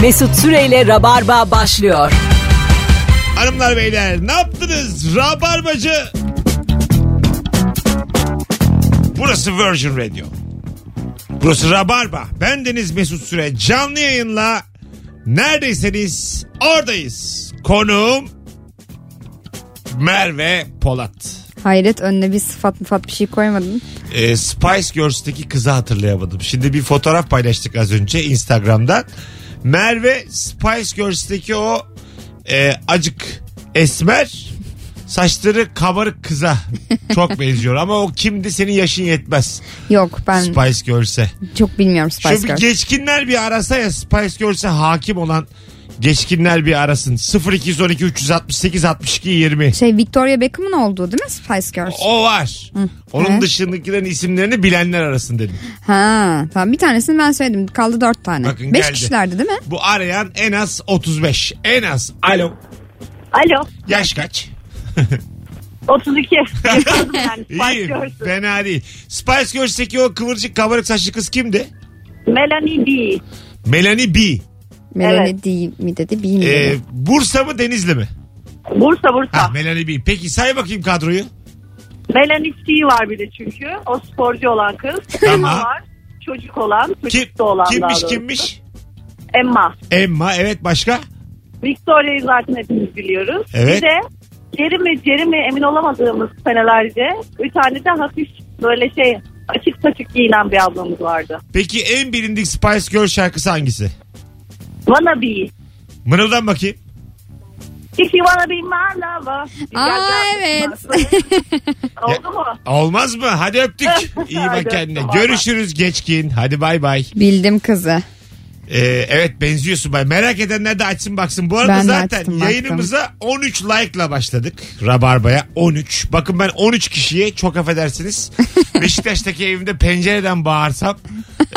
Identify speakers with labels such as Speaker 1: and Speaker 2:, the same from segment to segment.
Speaker 1: Mesut Süreyle Rabarba başlıyor.
Speaker 2: Hanımlar beyler ne yaptınız? Rabarbacı. Burası Virgin Radio. Burası Rabarba. Ben Deniz Mesut Süre. Canlı yayınla neredeyseniz oradayız. Konuğum Merve Polat.
Speaker 3: Hayret önüne bir sıfat mıfat bir şey koymadın.
Speaker 2: Ee, Spice Girls'teki kızı hatırlayamadım. Şimdi bir fotoğraf paylaştık az önce Instagram'dan. Merve Spice Girls'teki o e, acık esmer saçları kabarık kıza çok benziyor ama o kimdi senin yaşın yetmez
Speaker 3: Yok ben
Speaker 2: Spice Girls'e.
Speaker 3: çok bilmiyorum Spice
Speaker 2: Şu bir
Speaker 3: Girls.
Speaker 2: geçkinler bir arasa ya Spice Girls'e hakim olan geçkinler bir arasın. 0212 368 62 20.
Speaker 3: Şey Victoria Beckham'ın olduğu değil mi Spice Girls?
Speaker 2: O var. Onun
Speaker 3: evet.
Speaker 2: dışındakilerin isimlerini bilenler arasın dedim.
Speaker 3: Ha tamam bir tanesini ben söyledim. Kaldı dört tane.
Speaker 2: Bakın
Speaker 3: Beş
Speaker 2: geldi.
Speaker 3: kişilerdi değil mi?
Speaker 2: Bu arayan en az 35. En az. Alo.
Speaker 4: Alo.
Speaker 2: Yaş kaç?
Speaker 4: 32. yani
Speaker 2: İyi.
Speaker 4: başlıyorsun.
Speaker 2: Fena değil. Spice Girls'teki o kıvırcık kabarık saçlı kız kimdi?
Speaker 4: Melanie B.
Speaker 2: Melanie B.
Speaker 3: Melanie
Speaker 4: Evet.
Speaker 3: değil mi dedi
Speaker 2: Ee,
Speaker 3: bilmiyorum.
Speaker 2: Bursa mı Denizli mi?
Speaker 4: Bursa Bursa.
Speaker 2: Ha, Melanie B. Peki say bakayım kadroyu.
Speaker 4: Melanie C var bir de çünkü. O sporcu olan kız.
Speaker 2: Tamam.
Speaker 4: Emma var. Çocuk olan.
Speaker 2: Kim,
Speaker 4: Çocuk da olan daha
Speaker 2: kimmiş
Speaker 4: doğrusu.
Speaker 2: kimmiş?
Speaker 4: Emma.
Speaker 2: Emma evet başka?
Speaker 4: Victoria'yı zaten hepimiz biliyoruz.
Speaker 2: Evet.
Speaker 4: Bir de Jerry mi Jerry mi emin olamadığımız senelerce bir tane de hafif böyle şey açık saçık giyinen bir ablamız vardı.
Speaker 2: Peki en bilindik Spice Girl şarkısı hangisi?
Speaker 4: Wanna be.
Speaker 2: Mırıldan bakayım.
Speaker 4: If you wanna be my lover.
Speaker 3: Aa,
Speaker 4: Gel, gel.
Speaker 3: evet.
Speaker 4: Oldu mu?
Speaker 2: Olmaz mı? Hadi öptük. İyi bak
Speaker 4: Hadi
Speaker 2: kendine.
Speaker 4: öptüm,
Speaker 2: Görüşürüz geçkin. Hadi bay bay.
Speaker 3: Bildim kızı.
Speaker 2: Ee, evet benziyorsun bay. Merak edenler de açsın baksın. Bu arada
Speaker 3: Ben de
Speaker 2: zaten
Speaker 3: açtım, baktım.
Speaker 2: yayınımıza 13 like'la başladık. Rabarba'ya 13. Bakın ben 13 kişiye çok affedersiniz. Beşiktaş'taki evimde pencereden bağırsam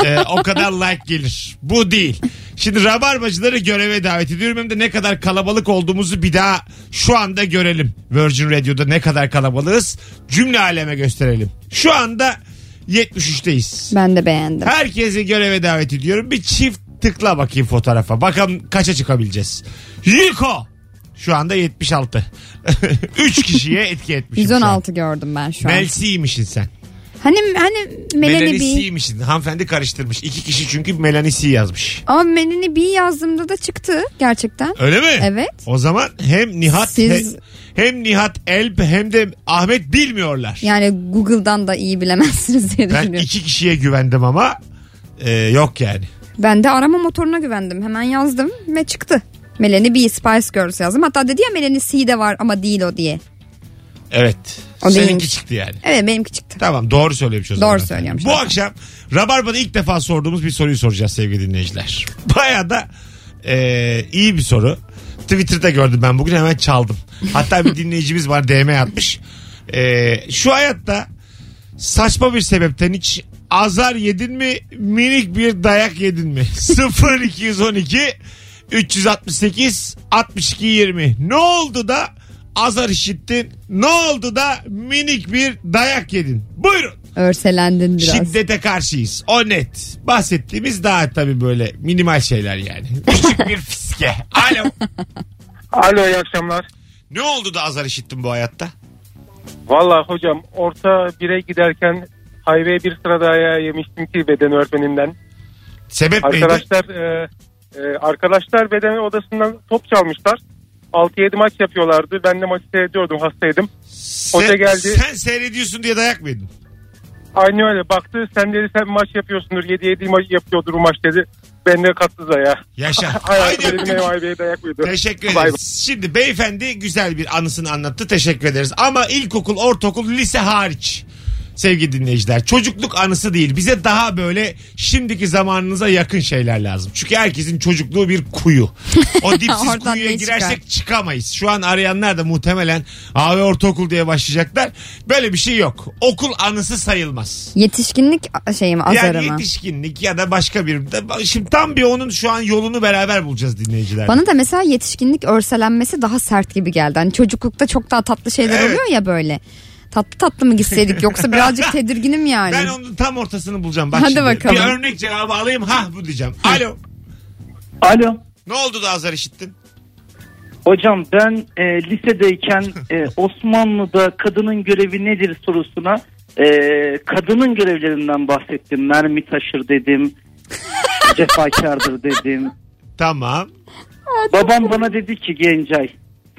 Speaker 2: e, o kadar like gelir. Bu değil. Şimdi Rabarbacıları göreve davet ediyorum. Hem de ne kadar kalabalık olduğumuzu bir daha şu anda görelim. Virgin Radio'da ne kadar kalabalığız cümle aleme gösterelim. Şu anda 73'teyiz.
Speaker 3: Ben de beğendim.
Speaker 2: Herkesi göreve davet ediyorum. Bir çift tıkla bakayım fotoğrafa. Bakalım kaça çıkabileceğiz. Yiko. Şu anda 76. 3 kişiye etki etmişim. şu an.
Speaker 3: 116 gördüm ben şu an.
Speaker 2: Melsi'ymişsin sen.
Speaker 3: hani hani Melanie B.
Speaker 2: Melanisi'ymişsin. Hanımefendi karıştırmış. İki kişi çünkü Melanisi yazmış.
Speaker 3: Ama Melanie B yazdığımda da çıktı gerçekten.
Speaker 2: Öyle mi?
Speaker 3: Evet.
Speaker 2: O zaman hem Nihat
Speaker 3: Siz-
Speaker 2: he- hem Nihat Elp hem de Ahmet bilmiyorlar.
Speaker 3: Yani Google'dan da iyi bilemezsiniz diye
Speaker 2: ben
Speaker 3: düşünüyorum.
Speaker 2: iki kişiye güvendim ama e, yok yani.
Speaker 3: Ben de arama motoruna güvendim. Hemen yazdım ve çıktı. Melanie B. Spice Girls yazdım. Hatta dedi ya Melanie C de var ama değil o diye.
Speaker 2: Evet.
Speaker 3: O
Speaker 2: Seninki
Speaker 3: değilmiş.
Speaker 2: çıktı yani.
Speaker 3: Evet benimki çıktı.
Speaker 2: Tamam doğru söylemiş o zaman.
Speaker 3: Doğru söylüyormuş.
Speaker 2: Bu akşam Rabarba'da ilk defa sorduğumuz bir soruyu soracağız sevgili dinleyiciler. Baya da e, iyi bir soru. Twitter'da gördüm ben bugün hemen çaldım. Hatta bir dinleyicimiz var DM atmış. E, şu hayatta saçma bir sebepten hiç azar yedin mi minik bir dayak yedin mi? 0 212 368 62 20 ne oldu da azar işittin ne oldu da minik bir dayak yedin buyurun
Speaker 3: Örselendin biraz.
Speaker 2: Şiddete karşıyız. O net. Bahsettiğimiz daha tabii böyle minimal şeyler yani. Küçük bir fiske. Alo.
Speaker 5: Alo iyi akşamlar.
Speaker 2: Ne oldu da azar işittin bu hayatta?
Speaker 5: Valla hocam orta bire giderken hayveye bir sıra daha yemiştim ki beden öğretmenimden.
Speaker 2: Sebep neydi?
Speaker 5: Arkadaşlar e, e, arkadaşlar beden odasından top çalmışlar. 6-7 maç yapıyorlardı. Ben de maçı seyrediyordum hastaydım.
Speaker 2: Sen-
Speaker 5: hoca geldi.
Speaker 2: Sen seyrediyorsun diye dayak mı yedin?
Speaker 5: Aynı öyle baktı sen dedi sen maç yapıyorsundur 7-7 maç yapıyordur bu maç dedi. Ben de kattı da ya.
Speaker 2: Yaşa. Haydi
Speaker 5: Hayatım benim
Speaker 2: öptük.
Speaker 5: ev haybeye dayak uydu.
Speaker 2: Teşekkür
Speaker 5: Bay
Speaker 2: ederiz. Şimdi beyefendi güzel bir anısını anlattı. Teşekkür ederiz. Ama ilkokul, ortaokul, lise hariç. Sevgili dinleyiciler çocukluk anısı değil bize daha böyle şimdiki zamanınıza yakın şeyler lazım. Çünkü herkesin çocukluğu bir kuyu. O dipsiz
Speaker 3: Oradan
Speaker 2: kuyuya
Speaker 3: ne
Speaker 2: girersek
Speaker 3: çıkar?
Speaker 2: çıkamayız. Şu an arayanlar da muhtemelen abi ortaokul diye başlayacaklar. Böyle bir şey yok. Okul anısı sayılmaz.
Speaker 3: Yetişkinlik a- şeyi mi azarı
Speaker 2: Yani
Speaker 3: mı?
Speaker 2: yetişkinlik ya da başka bir. de- Şimdi tam bir onun şu an yolunu beraber bulacağız dinleyiciler.
Speaker 3: Bana da mesela yetişkinlik örselenmesi daha sert gibi geldi. Hani çocuklukta çok daha tatlı şeyler
Speaker 2: Evet.
Speaker 3: oluyor ya böyle. Tatlı tatlı mı gitseydik yoksa birazcık tedirginim yani.
Speaker 2: Ben onun tam ortasını bulacağım. Bak
Speaker 3: Hadi
Speaker 2: şimdi.
Speaker 3: bakalım.
Speaker 2: Bir örnek cevabı alayım. Ha bu diyeceğim. Alo.
Speaker 6: Alo.
Speaker 2: Ne oldu da azar işittin?
Speaker 6: Hocam ben e, lisedeyken e, Osmanlı'da kadının görevi nedir sorusuna e, kadının görevlerinden bahsettim. Mermi taşır dedim. cefakardır dedim.
Speaker 2: Tamam.
Speaker 6: Babam bana dedi ki Gencay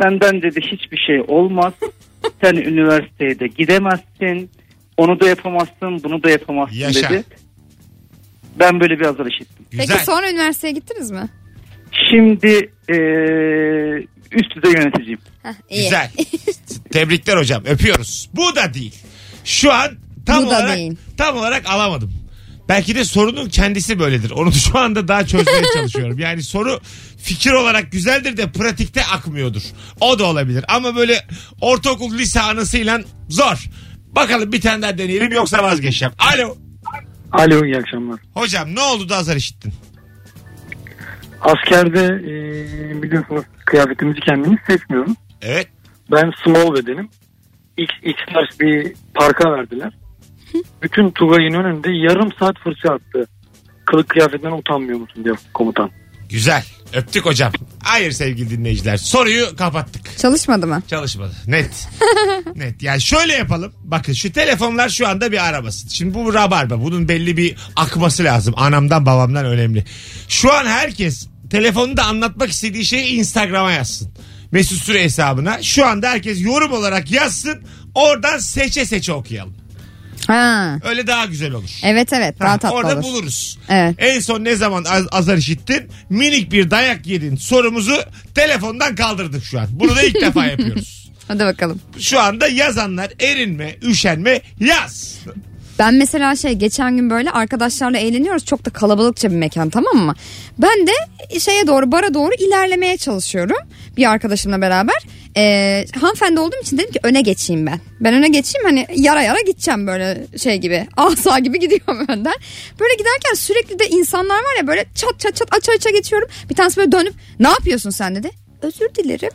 Speaker 6: senden dedi hiçbir şey olmaz. Sen üniversiteye de gidemezsin. Onu da yapamazsın bunu da yapamazsın
Speaker 2: Yaşa.
Speaker 6: dedi. Ben böyle bir azar işittim.
Speaker 2: Güzel.
Speaker 3: Peki sonra üniversiteye gittiniz mi?
Speaker 6: Şimdi e, üst düzey yöneticiyim.
Speaker 3: Heh, iyi.
Speaker 2: Güzel. Tebrikler hocam. Öpüyoruz. Bu da değil. Şu an tam
Speaker 3: Bu da
Speaker 2: olarak
Speaker 3: değil.
Speaker 2: tam olarak alamadım. Belki de sorunun kendisi böyledir. Onu şu anda daha çözmeye çalışıyorum. Yani soru fikir olarak güzeldir de pratikte akmıyordur. O da olabilir. Ama böyle ortaokul lise anısıyla zor. Bakalım bir tane daha deneyelim yoksa vazgeçeceğim. Alo.
Speaker 7: Alo iyi akşamlar.
Speaker 2: Hocam ne oldu da azar işittin?
Speaker 7: Askerde e, biliyorsunuz kıyafetimizi kendimiz seçmiyoruz.
Speaker 2: Evet.
Speaker 7: Ben small bedenim. X, X large bir parka verdiler. Bütün Tugay'ın önünde yarım saat fırça attı. Kılık kıyafetinden utanmıyor musun diyor komutan.
Speaker 2: Güzel. Öptük hocam. Hayır sevgili dinleyiciler. Soruyu kapattık.
Speaker 3: Çalışmadı mı?
Speaker 2: Çalışmadı. Net. Net. Yani şöyle yapalım. Bakın şu telefonlar şu anda bir aramasın. Şimdi bu rabarba. Bunun belli bir akması lazım. Anamdan babamdan önemli. Şu an herkes telefonunda anlatmak istediği şeyi Instagram'a yazsın. Mesut Süre hesabına. Şu anda herkes yorum olarak yazsın. Oradan seçe seçe okuyalım.
Speaker 3: Ha.
Speaker 2: Öyle daha güzel olur.
Speaker 3: Evet evet daha
Speaker 2: Ha,
Speaker 3: tatlı
Speaker 2: Orada
Speaker 3: olur.
Speaker 2: buluruz.
Speaker 3: Evet.
Speaker 2: En son ne zaman az- azar işittin? Minik bir dayak yedin sorumuzu telefondan kaldırdık şu an. Bunu da ilk defa yapıyoruz
Speaker 3: Hadi bakalım.
Speaker 2: şu anda yazanlar erinme, üşenme yaz.
Speaker 3: Ben mesela şey geçen gün böyle arkadaşlarla eğleniyoruz. Çok da kalabalıkça bir mekan tamam mı? Ben de şeye doğru bara doğru ilerlemeye çalışıyorum. Bir arkadaşımla beraber. Ee, hanımefendi olduğum için dedim ki öne geçeyim ben. Ben öne geçeyim hani yara yara gideceğim böyle şey gibi. Asa gibi gidiyorum önden. Böyle giderken sürekli de insanlar var ya böyle çat çat çat aça aça geçiyorum. Bir tanesi böyle dönüp ne yapıyorsun sen dedi. Özür dilerim.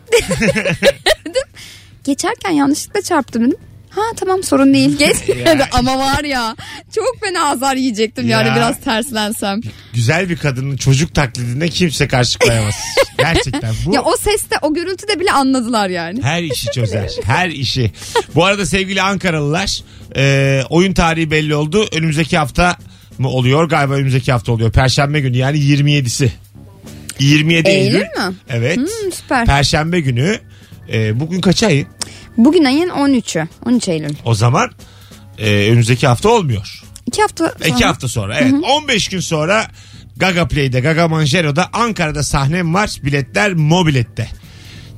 Speaker 3: geçerken yanlışlıkla çarptım dedim. Ha tamam sorun değil geç.
Speaker 2: Ya.
Speaker 3: Ama var ya çok fena azar yiyecektim yani
Speaker 2: Ya.
Speaker 3: biraz terslensem.
Speaker 2: Güzel bir kadının çocuk taklidine kimse karşı koyamaz. Gerçekten bu
Speaker 3: Ya o seste o gürültüde bile anladılar yani.
Speaker 2: her işi çözer. Her işi. Bu arada sevgili Ankaralılar e, oyun tarihi belli oldu. Önümüzdeki hafta mı oluyor? Galiba önümüzdeki hafta oluyor. Perşembe günü yani 27'si. 27
Speaker 3: Eylül
Speaker 2: Eylül.
Speaker 3: mü?
Speaker 2: Evet.
Speaker 3: Hmm, süper.
Speaker 2: Perşembe günü. E, bugün kaç ayın?
Speaker 3: Bugün ayın 13'ü. 13 Eylül.
Speaker 2: O zaman e, önümüzdeki hafta olmuyor.
Speaker 3: İki hafta sonra.
Speaker 2: İki hafta sonra evet. 15 gün sonra Gaga Play'de, Gaga Manjero'da Ankara'da sahnem var. Biletler Mobilet'te.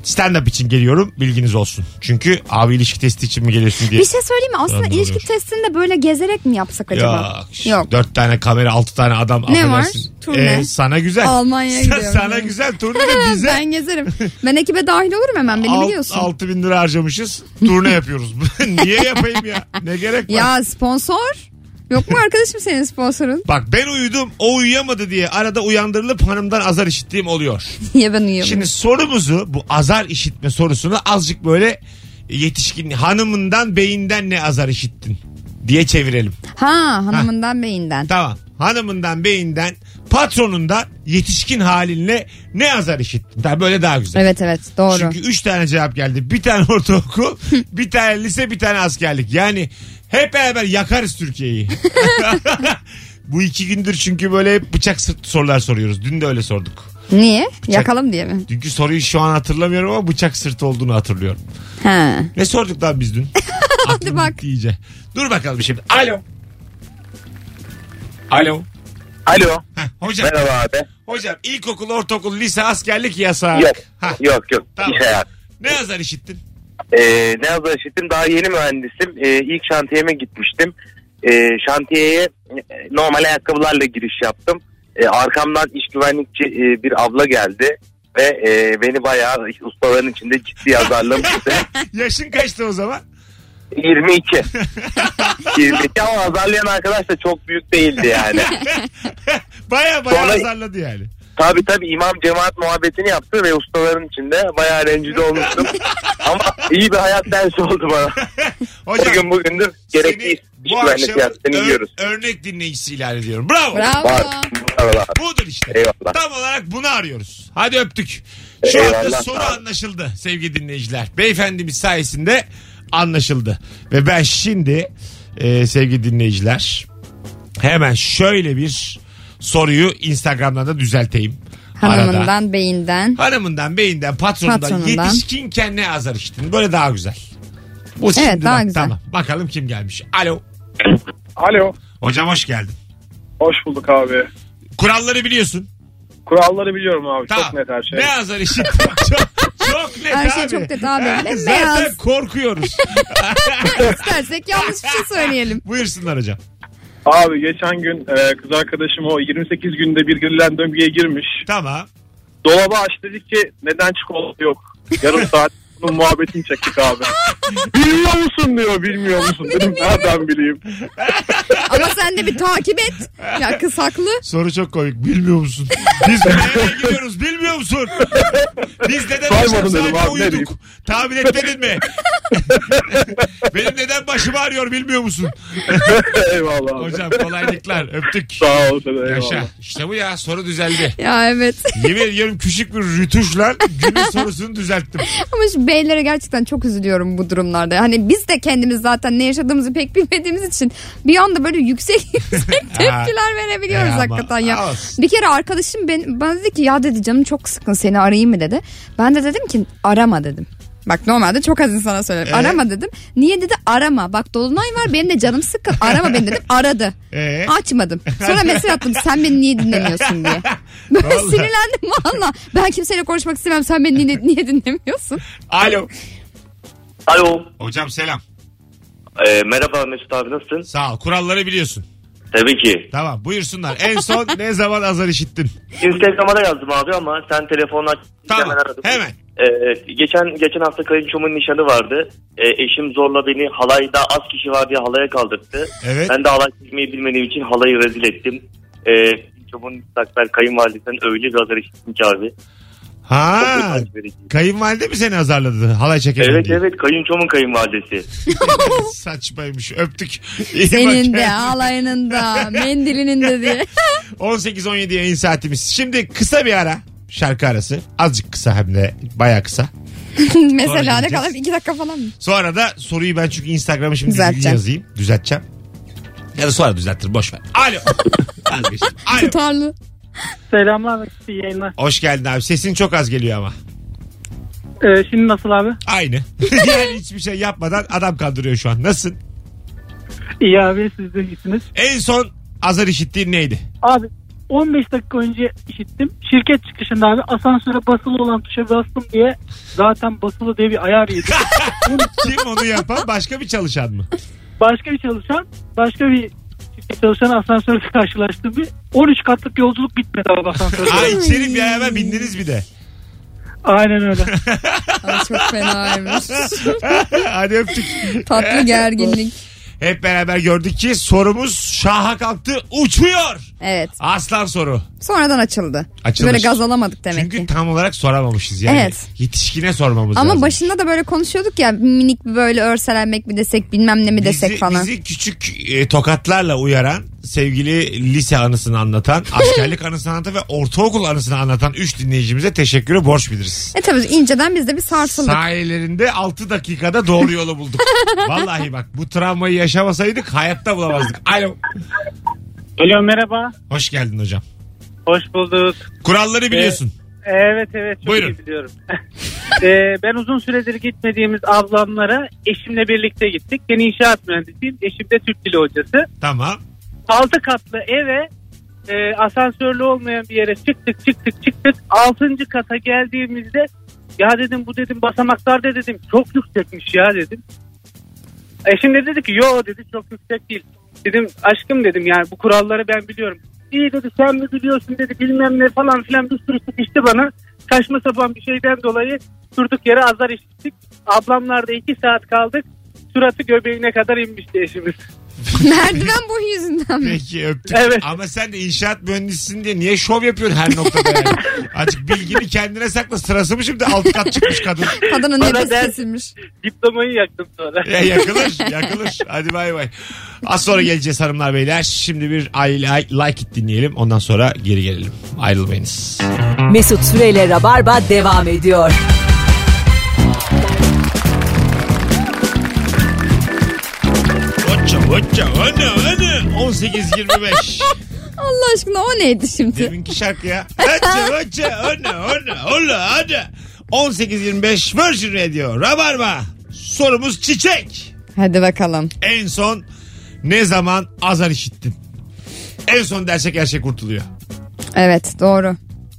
Speaker 2: Stand-up için geliyorum bilginiz olsun. Çünkü abi ilişki testi için mi geliyorsun diye.
Speaker 3: Bir şey söyleyeyim mi? Aslında
Speaker 2: Anladım,
Speaker 3: ilişki
Speaker 2: oluyor.
Speaker 3: testinde böyle gezerek mi yapsak acaba?
Speaker 2: Yok. Dört tane kamera altı tane adam.
Speaker 3: Ne
Speaker 2: affedersin. E, Ee,
Speaker 3: var? Turne.
Speaker 2: sana güzel.
Speaker 3: Almanya'ya
Speaker 2: Sa-
Speaker 3: gidiyorum.
Speaker 2: Sana güzel turne de bize.
Speaker 3: ben gezerim. Ben ekibe dahil olurum hemen beni biliyorsun.
Speaker 2: 6 bin lira harcamışız. Turne yapıyoruz. Niye yapayım ya? Ne gerek var?
Speaker 3: Ya sponsor. Yok mu arkadaşım senin sponsorun?
Speaker 2: Bak ben uyudum o uyuyamadı diye arada uyandırılıp hanımdan azar işittiğim oluyor.
Speaker 3: Niye ben uyuyorum?
Speaker 2: Şimdi sorumuzu bu azar işitme sorusunu azıcık böyle yetişkin hanımından beyinden ne azar işittin diye çevirelim.
Speaker 3: Ha hanımından beyinden.
Speaker 2: Tamam. Hanımından beyinden patronundan yetişkin halinle ne azar işittin? Tabii böyle daha güzel.
Speaker 3: Evet evet doğru.
Speaker 2: Çünkü 3 tane cevap geldi. Bir tane ortaokul, bir tane lise, bir tane askerlik. Yani hep beraber yakarız Türkiye'yi. Bu iki gündür çünkü böyle hep bıçak sırtı sorular soruyoruz. Dün de öyle sorduk.
Speaker 3: Niye? Yakalım diye mi?
Speaker 2: Dünkü soruyu şu an hatırlamıyorum ama bıçak sırtı olduğunu hatırlıyorum.
Speaker 3: Ha.
Speaker 2: Ne sorduk lan biz dün? Hadi
Speaker 3: bak.
Speaker 2: Iyice. Dur bakalım şimdi. Alo. Alo.
Speaker 8: Alo.
Speaker 2: Heh, hocam,
Speaker 8: Merhaba abi.
Speaker 2: hocam ilkokul, ortaokul, lise, askerlik yasağı.
Speaker 8: Yok.
Speaker 2: Hah,
Speaker 8: Yok yok.
Speaker 2: Tamam.
Speaker 8: İş hayatı.
Speaker 2: Ne yazar işittin?
Speaker 8: Ee, ne yazar işittim daha yeni mühendisim. Ee, ilk şantiyeme gitmiştim. Ee, şantiyeye e, normal ayakkabılarla giriş yaptım. Ee, arkamdan iş güvenlikçi e, bir abla geldi ve e, beni bayağı ustaların içinde ciddi azarlamıştı.
Speaker 2: Yaşın kaçtı o zaman?
Speaker 8: 22. 22 ama azarlayan arkadaş da çok büyük değildi yani.
Speaker 2: baya baya
Speaker 8: Sonra-
Speaker 2: azarladı yani.
Speaker 8: Tabi tabi imam cemaat muhabbetini yaptı ve ustaların içinde bayağı rencide olmuştum. Ama iyi bir hayat dersi oldu bana.
Speaker 2: Hocam
Speaker 8: Bugün bugündür
Speaker 2: seni
Speaker 8: gerekli iş
Speaker 2: bu akşam
Speaker 8: güvenlik yaptığını
Speaker 2: ör-
Speaker 8: yiyoruz.
Speaker 2: örnek dinleyicisi ilan ediyorum. Bravo.
Speaker 3: Bravo.
Speaker 8: Bak Eyvallah.
Speaker 2: Budur işte.
Speaker 8: Eyvallah.
Speaker 2: Tam olarak bunu arıyoruz. Hadi öptük. Şu anda
Speaker 8: Eyvallah.
Speaker 2: soru anlaşıldı sevgili dinleyiciler. Beyefendimiz sayesinde anlaşıldı. Ve ben şimdi e, sevgili dinleyiciler hemen şöyle bir soruyu Instagram'dan da düzelteyim. Arada.
Speaker 3: Hanımından, beyinden.
Speaker 2: Hanımından, beyinden, patronundan,
Speaker 3: Patronundan.
Speaker 2: yetişkinken ne azar içtin? Böyle daha güzel. Bu şimdi
Speaker 3: Evet, daha
Speaker 2: bak,
Speaker 3: güzel.
Speaker 2: Tamam. Bakalım kim gelmiş. Alo.
Speaker 5: Alo.
Speaker 2: Hocam hoş geldin.
Speaker 5: Hoş bulduk abi.
Speaker 2: Kuralları biliyorsun.
Speaker 5: Kuralları biliyorum abi.
Speaker 2: Tamam.
Speaker 5: Çok net her şey.
Speaker 2: Ne azar işin? çok, çok net
Speaker 3: Her şey
Speaker 2: abi.
Speaker 3: çok net abi. Ne
Speaker 2: Zaten
Speaker 3: beyaz.
Speaker 2: korkuyoruz.
Speaker 3: İstersek yanlış bir şey söyleyelim.
Speaker 2: Buyursunlar hocam.
Speaker 5: Abi geçen gün e, kız arkadaşım o 28 günde bir girilen döngüye girmiş.
Speaker 2: Tamam.
Speaker 5: Dolabı aç dedik ki neden çikolata yok? Yarım saat bunun muhabbetini çektik abi. bilmiyor musun diyor bilmiyor musun. Dedim nereden bileyim.
Speaker 3: Ama sen de bir takip et. Ya kız haklı.
Speaker 2: Soru çok komik. Bilmiyor musun? Biz nereye gidiyoruz bilmiyor musun? Biz neden
Speaker 5: Sormadım
Speaker 2: akşam
Speaker 5: dedim
Speaker 2: saatte
Speaker 5: abi, ne
Speaker 2: uyuduk?
Speaker 5: diyeyim?
Speaker 2: Tahmin etmedin mi? Benim neden başım ağrıyor bilmiyor musun?
Speaker 5: eyvallah abi.
Speaker 2: Hocam kolaylıklar. Öptük.
Speaker 5: Sağ ol sana eyvallah.
Speaker 2: Yaşa. İşte bu ya soru düzeldi.
Speaker 3: Ya evet.
Speaker 2: Yemin ediyorum küçük bir rütuşla günün sorusunu düzelttim.
Speaker 3: Ama şu beylere gerçekten çok üzülüyorum bu durumlarda. Hani biz de kendimiz zaten ne yaşadığımızı pek bilmediğimiz için bir anda böyle yüksek yüksek tepkiler verebiliyoruz
Speaker 2: E ama-
Speaker 3: hakikaten ya.
Speaker 2: Olsun.
Speaker 3: Bir kere arkadaşım ben, bana dedi ki ya dedi canım çok sıkın seni arayayım mı dedi. Ben de dedim ki arama dedim. Bak normalde çok az insana söylerim.
Speaker 2: Ee?
Speaker 3: Arama dedim. Niye dedi arama. Bak dolunay var benim de canım sıkkın. Arama beni dedim. Aradı.
Speaker 2: Ee?
Speaker 3: Açmadım. Sonra mesaj attım. Sen beni niye dinlemiyorsun diye. Ben
Speaker 2: Vallahi.
Speaker 3: sinirlendim valla. Ben kimseyle konuşmak istemem. Sen beni niye, niye dinlemiyorsun?
Speaker 2: Alo.
Speaker 8: Alo.
Speaker 2: Hocam selam.
Speaker 8: Ee, merhaba Mesut abi nasılsın?
Speaker 2: Sağ ol. Kuralları biliyorsun.
Speaker 8: Tabii ki.
Speaker 2: Tamam buyursunlar. En son ne zaman azar işittin?
Speaker 8: Instagram'a da yazdım abi ama sen telefonu aç.
Speaker 2: Tamam.
Speaker 8: Hemen aradım.
Speaker 2: Hemen.
Speaker 8: Ee, geçen geçen hafta kayınçomun nişanı vardı. Ee, eşim zorla beni halayda az kişi var diye halaya kaldırdı.
Speaker 2: Evet.
Speaker 8: Ben de halay çizmeyi bilmediğim için halayı rezil ettim. Ee, kayınçomun müstakbel kayınvalidesinden öyle bir azar işittim ki abi. Çok
Speaker 2: Ha.
Speaker 8: utanç verici.
Speaker 2: Kayınvalide mi seni azarladı? Halay çekelim
Speaker 8: Evet
Speaker 2: diye.
Speaker 8: evet kayınçomun kayınvalidesi.
Speaker 2: Saçmaymış. Öptük. İyi
Speaker 3: Senin
Speaker 2: bak.
Speaker 3: de ağlayının da mendilinin de diye.
Speaker 2: 18-17 yayın saatimiz. Şimdi kısa bir ara. Şarkı arası. Azıcık kısa hem de. Baya kısa.
Speaker 3: Mesela ne
Speaker 2: gideceğiz.
Speaker 3: kadar iki dakika falan mı?
Speaker 2: Sonra da soruyu ben çünkü Instagram'a şimdi
Speaker 3: Düzelteceğim.
Speaker 2: düzgün yazayım. Düzelteceğim. Ya da sonra düzeltirim boş ver. Alo. Vazgeçtim. Alo.
Speaker 3: Tutarlı.
Speaker 9: Selamlar iyi yayınlar.
Speaker 2: Hoş geldin abi. Sesin çok az geliyor ama.
Speaker 9: Ee, şimdi nasıl abi?
Speaker 2: Aynı. yani hiçbir şey yapmadan adam kandırıyor şu an. Nasılsın?
Speaker 9: İyi abi siz de iyisiniz.
Speaker 2: En son azar işittiğin neydi?
Speaker 9: Abi 15 dakika önce işittim. Şirket çıkışında abi asansöre basılı olan tuşa bastım diye zaten basılı diye bir ayar yedim.
Speaker 2: Kim onu yapan? Başka bir çalışan mı?
Speaker 9: başka bir çalışan, başka bir şirket çalışan asansörde karşılaştım. Bir 13 katlık yolculuk bitmedi abi asansörde.
Speaker 2: Ay içeri bir hemen bindiniz bir de.
Speaker 9: Aynen öyle.
Speaker 3: Ay çok fenaymış.
Speaker 2: Hadi öptük.
Speaker 3: Tatlı gerginlik.
Speaker 2: Hep beraber gördük ki sorumuz şaha kalktı uçuyor.
Speaker 3: Evet.
Speaker 2: Aslan soru.
Speaker 3: Sonradan açıldı.
Speaker 2: Açılır.
Speaker 3: Böyle gaz alamadık demek
Speaker 2: Çünkü
Speaker 3: ki.
Speaker 2: tam olarak soramamışız yani.
Speaker 3: Evet.
Speaker 2: Yetişkine sormamız
Speaker 3: Ama
Speaker 2: lazım.
Speaker 3: başında da böyle konuşuyorduk ya minik bir böyle örselenmek mi desek bilmem ne mi desek
Speaker 2: bizi,
Speaker 3: falan.
Speaker 2: bizi küçük e, tokatlarla uyaran, sevgili lise anısını anlatan, askerlik anısını anlatan ve ortaokul anısını anlatan 3 dinleyicimize teşekkürü borç biliriz.
Speaker 3: E tabii inceden biz de bir sarsıldık.
Speaker 2: Sayelerinde 6 dakikada doğru yolu bulduk. Vallahi bak bu travmayı yaşamasaydık hayatta bulamazdık. Alo.
Speaker 9: Alo merhaba.
Speaker 2: Hoş geldin hocam.
Speaker 9: Hoş bulduk. Ee,
Speaker 2: Kuralları biliyorsun.
Speaker 9: Evet evet çok
Speaker 2: Buyurun.
Speaker 9: iyi biliyorum. Ee, ben uzun süredir gitmediğimiz ablamlara eşimle birlikte gittik. Ben inşaat mühendisiyim. Eşim de Türk Dili Hocası.
Speaker 2: Tamam.
Speaker 9: Altı katlı eve e, asansörlü olmayan bir yere çıktık çıktık çıktık. Altıncı kata geldiğimizde ya dedim bu dedim basamaklar da dedim çok yüksekmiş ya dedim. Eşim de dedi ki yo dedi çok yüksek değil. Dedim aşkım dedim yani bu kuralları ben biliyorum. İyi dedi sen mi biliyorsun dedi bilmem ne falan filan bir sürü sıkıştı bana. Saçma sapan bir şeyden dolayı durduk yere azar işittik. Ablamlarda iki saat kaldık. Suratı göbeğine kadar inmişti eşimiz.
Speaker 3: Merdiven boyu yüzünden mi?
Speaker 2: Peki öptük.
Speaker 9: Evet.
Speaker 2: Ama sen de inşaat mühendisisin diye niye şov yapıyorsun her noktada yani? Azıcık bilgini kendine sakla. Sırası mı şimdi alt kat çıkmış kadın?
Speaker 3: Kadının
Speaker 9: Bana
Speaker 3: nefes
Speaker 9: der-
Speaker 3: kesilmiş.
Speaker 9: Diplomayı yaktım sonra.
Speaker 2: Ya yakılır yakılır. Hadi bay bay. Az sonra geleceğiz hanımlar beyler. Şimdi bir I Like- Like It dinleyelim. Ondan sonra geri gelelim. Ayrılmayınız.
Speaker 1: Mesut Süreyle Rabarba devam ediyor.
Speaker 2: Hoca hoca ana ana. 18.25.
Speaker 3: Allah aşkına o neydi şimdi?
Speaker 2: Deminki şarkı ya. Hoca hoca ana ana ola ana. 18.25 Virgin Radio. Rabarba. Sorumuz çiçek.
Speaker 3: Hadi bakalım.
Speaker 2: En son ne zaman azar işittin? En son dersek her şey kurtuluyor.
Speaker 3: Evet doğru.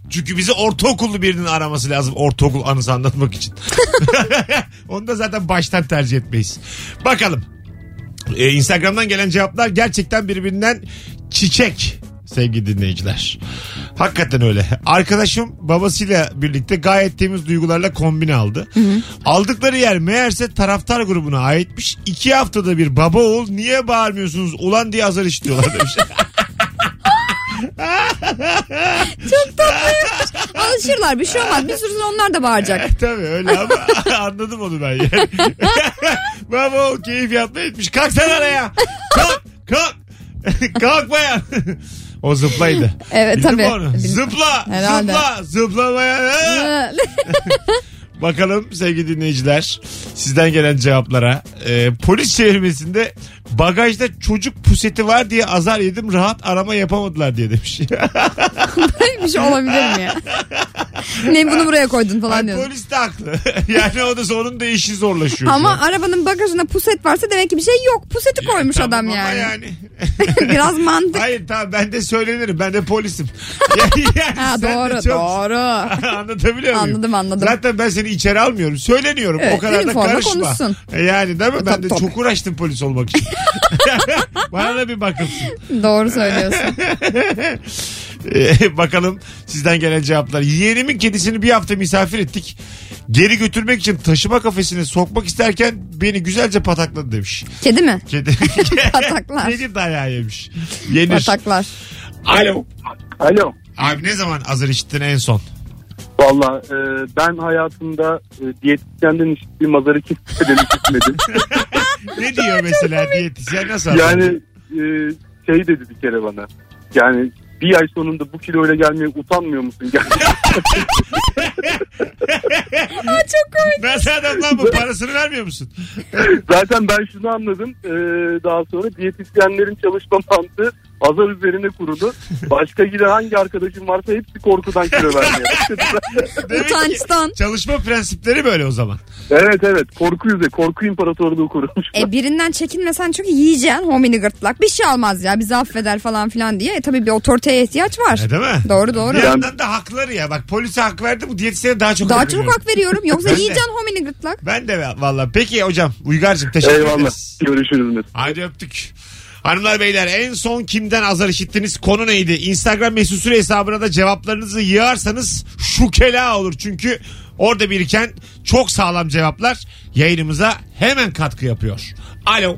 Speaker 2: Çünkü bizi ortaokullu birinin araması lazım ortaokul anısı anlatmak için. Onu da zaten baştan tercih etmeyiz. Bakalım. Ee, Instagram'dan gelen cevaplar gerçekten birbirinden çiçek sevgili dinleyiciler. Hakikaten öyle. Arkadaşım babasıyla birlikte gayet temiz duygularla kombine aldı. Aldıkları yer meğerse taraftar grubuna aitmiş. İki haftada bir baba oğul niye bağırmıyorsunuz ulan diye azar işitiyorlar demiş.
Speaker 3: Alışırlar bir şey olmaz. Bir sürü onlar da bağıracak.
Speaker 2: E, Tabii öyle ama anladım onu ben yani. Baba o keyif yapma etmiş. Kalk sen araya. Kalk kalk. Kalkmayan. o zıplaydı.
Speaker 3: Evet,
Speaker 2: Bildin mi
Speaker 3: tabii.
Speaker 2: onu?
Speaker 3: Bildim.
Speaker 2: Zıpla
Speaker 3: Herhalde.
Speaker 2: zıpla zıplamayan. Ha!
Speaker 5: Ee,
Speaker 2: Bakalım sevgili dinleyiciler sizden gelen cevaplara. Ee, polis çevirmesinde bagajda çocuk puseti var diye azar yedim rahat arama yapamadılar diye demiş.
Speaker 3: bir şey olabilir mi ya? ne bunu buraya koydun falan
Speaker 2: Ay,
Speaker 3: diyorsun.
Speaker 2: polis de haklı. yani o da onun da işi zorlaşıyor. şu an.
Speaker 3: Ama arabanın bagajına puset varsa demek ki bir şey yok. Puseti koymuş
Speaker 2: Tamam
Speaker 3: adam
Speaker 2: ama
Speaker 3: yani.
Speaker 2: yani.
Speaker 3: Biraz mantık.
Speaker 2: Hayır tamam ben de söylenirim. Ben de polisim. Yani
Speaker 3: Ha,
Speaker 2: sen de
Speaker 3: doğru
Speaker 2: çok-
Speaker 3: doğru.
Speaker 2: Anlatabiliyor muyum?
Speaker 3: Anladım, anladım.
Speaker 2: Zaten ben seni içeri almıyorum. Söyleniyorum.
Speaker 3: Evet,
Speaker 2: o kadar da
Speaker 3: üniforma
Speaker 2: karışma. E,
Speaker 3: konuşsun. E,
Speaker 2: Yani değil mi? Ben
Speaker 3: Tabii,
Speaker 2: de
Speaker 3: tabii.
Speaker 2: çok uğraştım polis olmak için. Bana da bir bakılsın.
Speaker 3: doğru söylüyorsun.
Speaker 2: Ee, bakalım sizden gelen cevaplar. Yeğenimin kedisini bir hafta misafir ettik. Geri götürmek için taşıma kafesine sokmak isterken beni güzelce patakladı demiş.
Speaker 3: Kedi mi?
Speaker 2: Kedi.
Speaker 3: Pataklar.
Speaker 2: Kedi dayağı yemiş. Yenir.
Speaker 3: Pataklar.
Speaker 2: Alo.
Speaker 5: Alo.
Speaker 2: Abi ne zaman azar işittin en son?
Speaker 5: Valla e, ben hayatımda e, diyetisyenden işittiğim azarı kimseden işitmedim.
Speaker 2: Ne diyor mesela diyetisyen nasıl?
Speaker 5: yani
Speaker 2: anladın?
Speaker 5: e, şey dedi bir kere bana. Yani bir ay sonunda bu kiloyla gelmeye utanmıyor musun? Yani
Speaker 2: Nasıl adam lan bu parasını vermiyor musun?
Speaker 5: zaten ben şunu anladım. E, daha sonra diyetisyenlerin çalışma mantığı azar üzerine kurulu. Başka giden hangi arkadaşım varsa hepsi korkudan kilo vermeye başladı.
Speaker 2: Demek ki
Speaker 3: Utançtan.
Speaker 2: çalışma prensipleri böyle o zaman.
Speaker 5: evet evet korku yüze korku imparatorluğu kurulmuş.
Speaker 3: E birinden çekinmesen çünkü yiyeceksin homini gırtlak. Bir şey almaz ya bizi affeder falan filan diye. E tabii bir otoriteye ihtiyaç var.
Speaker 2: E, değil mi?
Speaker 3: Doğru doğru.
Speaker 2: Bir yandan da hakları ya. Bak polise hak verdi bu diyetisyene daha çok
Speaker 3: Daha
Speaker 2: hak
Speaker 3: çok
Speaker 2: veriyorum.
Speaker 3: hak veriyorum. Yoksa
Speaker 2: Ben de.
Speaker 3: yiyeceksin homini gırtlak.
Speaker 2: Ben de valla. Peki hocam Uygar'cığım teşekkür
Speaker 5: Eyvallah
Speaker 2: ederiz.
Speaker 5: görüşürüz. Mesut.
Speaker 2: Hadi öptük. Hanımlar beyler en son kimden azar işittiniz konu neydi? Instagram mesut süre hesabına da cevaplarınızı yığarsanız şukela olur. Çünkü orada biriken çok sağlam cevaplar yayınımıza hemen katkı yapıyor. Alo.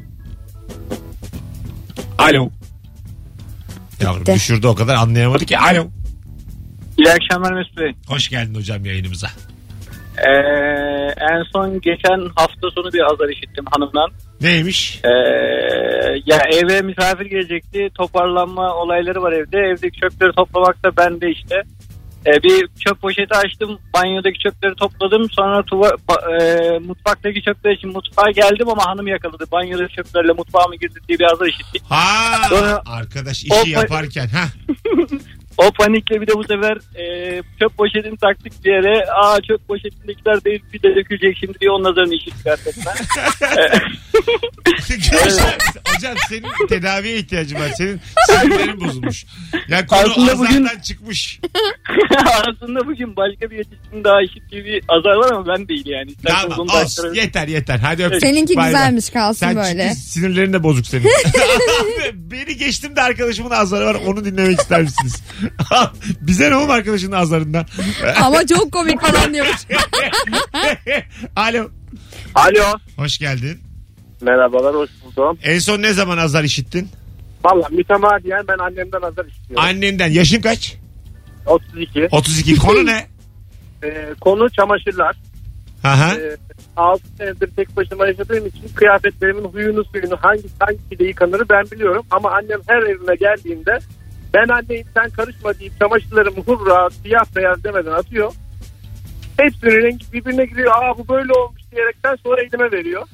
Speaker 2: Alo. Yavrum
Speaker 3: Gitti.
Speaker 2: düşürdü o kadar anlayamadı ki. Alo.
Speaker 9: İyi akşamlar Mesut Bey.
Speaker 2: Hoş geldin hocam yayınımıza.
Speaker 9: Ee, en son geçen hafta sonu bir azar işittim hanımdan.
Speaker 2: Neymiş?
Speaker 9: Ee, ya eve misafir gelecekti. Toparlanma olayları var evde. Evdeki çöpleri toplamak da bende işte. Ee, bir çöp poşeti açtım. Banyodaki çöpleri topladım. Sonra tuva- ba- e, mutfaktaki çöpler için mutfağa geldim ama hanım yakaladı. Banyodaki çöplerle mutfağa mı girdi diye bir azar işittik.
Speaker 2: Ha
Speaker 9: Sonra-
Speaker 2: arkadaş
Speaker 9: O-
Speaker 2: işi yaparken ha
Speaker 9: O panikle bir de bu sefer e, çöp poşetini taktık bir yere. Aa çöp poşetindekiler değil bir de dökülecek şimdi diye onun nazarını işittik gerçekten.
Speaker 2: Güzel. Hocam senin tedaviye ihtiyacın var. Senin sinirlerin bozulmuş. Ya konu
Speaker 9: Aslında
Speaker 2: azardan
Speaker 9: bugün-
Speaker 2: çıkmış.
Speaker 9: Aslında bugün başka bir yetişkin daha işittiği bir azar var ama ben değil yani. İsterseniz
Speaker 2: tamam
Speaker 9: onu da
Speaker 2: olsun.
Speaker 9: aktarırım.
Speaker 2: Yeter yeter. Hadi öptük.
Speaker 3: Seninki
Speaker 2: Bay bay.
Speaker 3: güzelmiş kalsın
Speaker 2: Sen
Speaker 3: böyle.
Speaker 2: ciddi sinirlerin de bozuk senin. Beni geçtim de arkadaşımın azarı var. Onu dinlemek ister misiniz? Bize ne oğlum arkadaşının azarından?
Speaker 3: Ama çok komik falan diyormuş.
Speaker 2: Alo.
Speaker 5: Alo.
Speaker 2: Hoş geldin.
Speaker 5: Merhabalar hoş buldum.
Speaker 2: En son ne zaman azar işittin?
Speaker 5: Valla mütemadiyen ben annemden azar işitiyorum.
Speaker 2: Annenden. Yaşın kaç?
Speaker 5: 32.
Speaker 2: 32. Konu ne?
Speaker 5: Ee, konu çamaşırlar.
Speaker 2: Aha.
Speaker 5: Ee, 6 senedir tek başıma yaşadığım için kıyafetlerimin huyunu suyunu hangi hangisiyle yıkanırı ben biliyorum. Ama annem her evime geldiğinde ben anneyim sen karışma deyip çamaşırlarımı hurra siyah beyaz demeden atıyor. Hepsinin rengi birbirine giriyor. Aa bu böyle olmuş diyerekten sonra elime veriyor.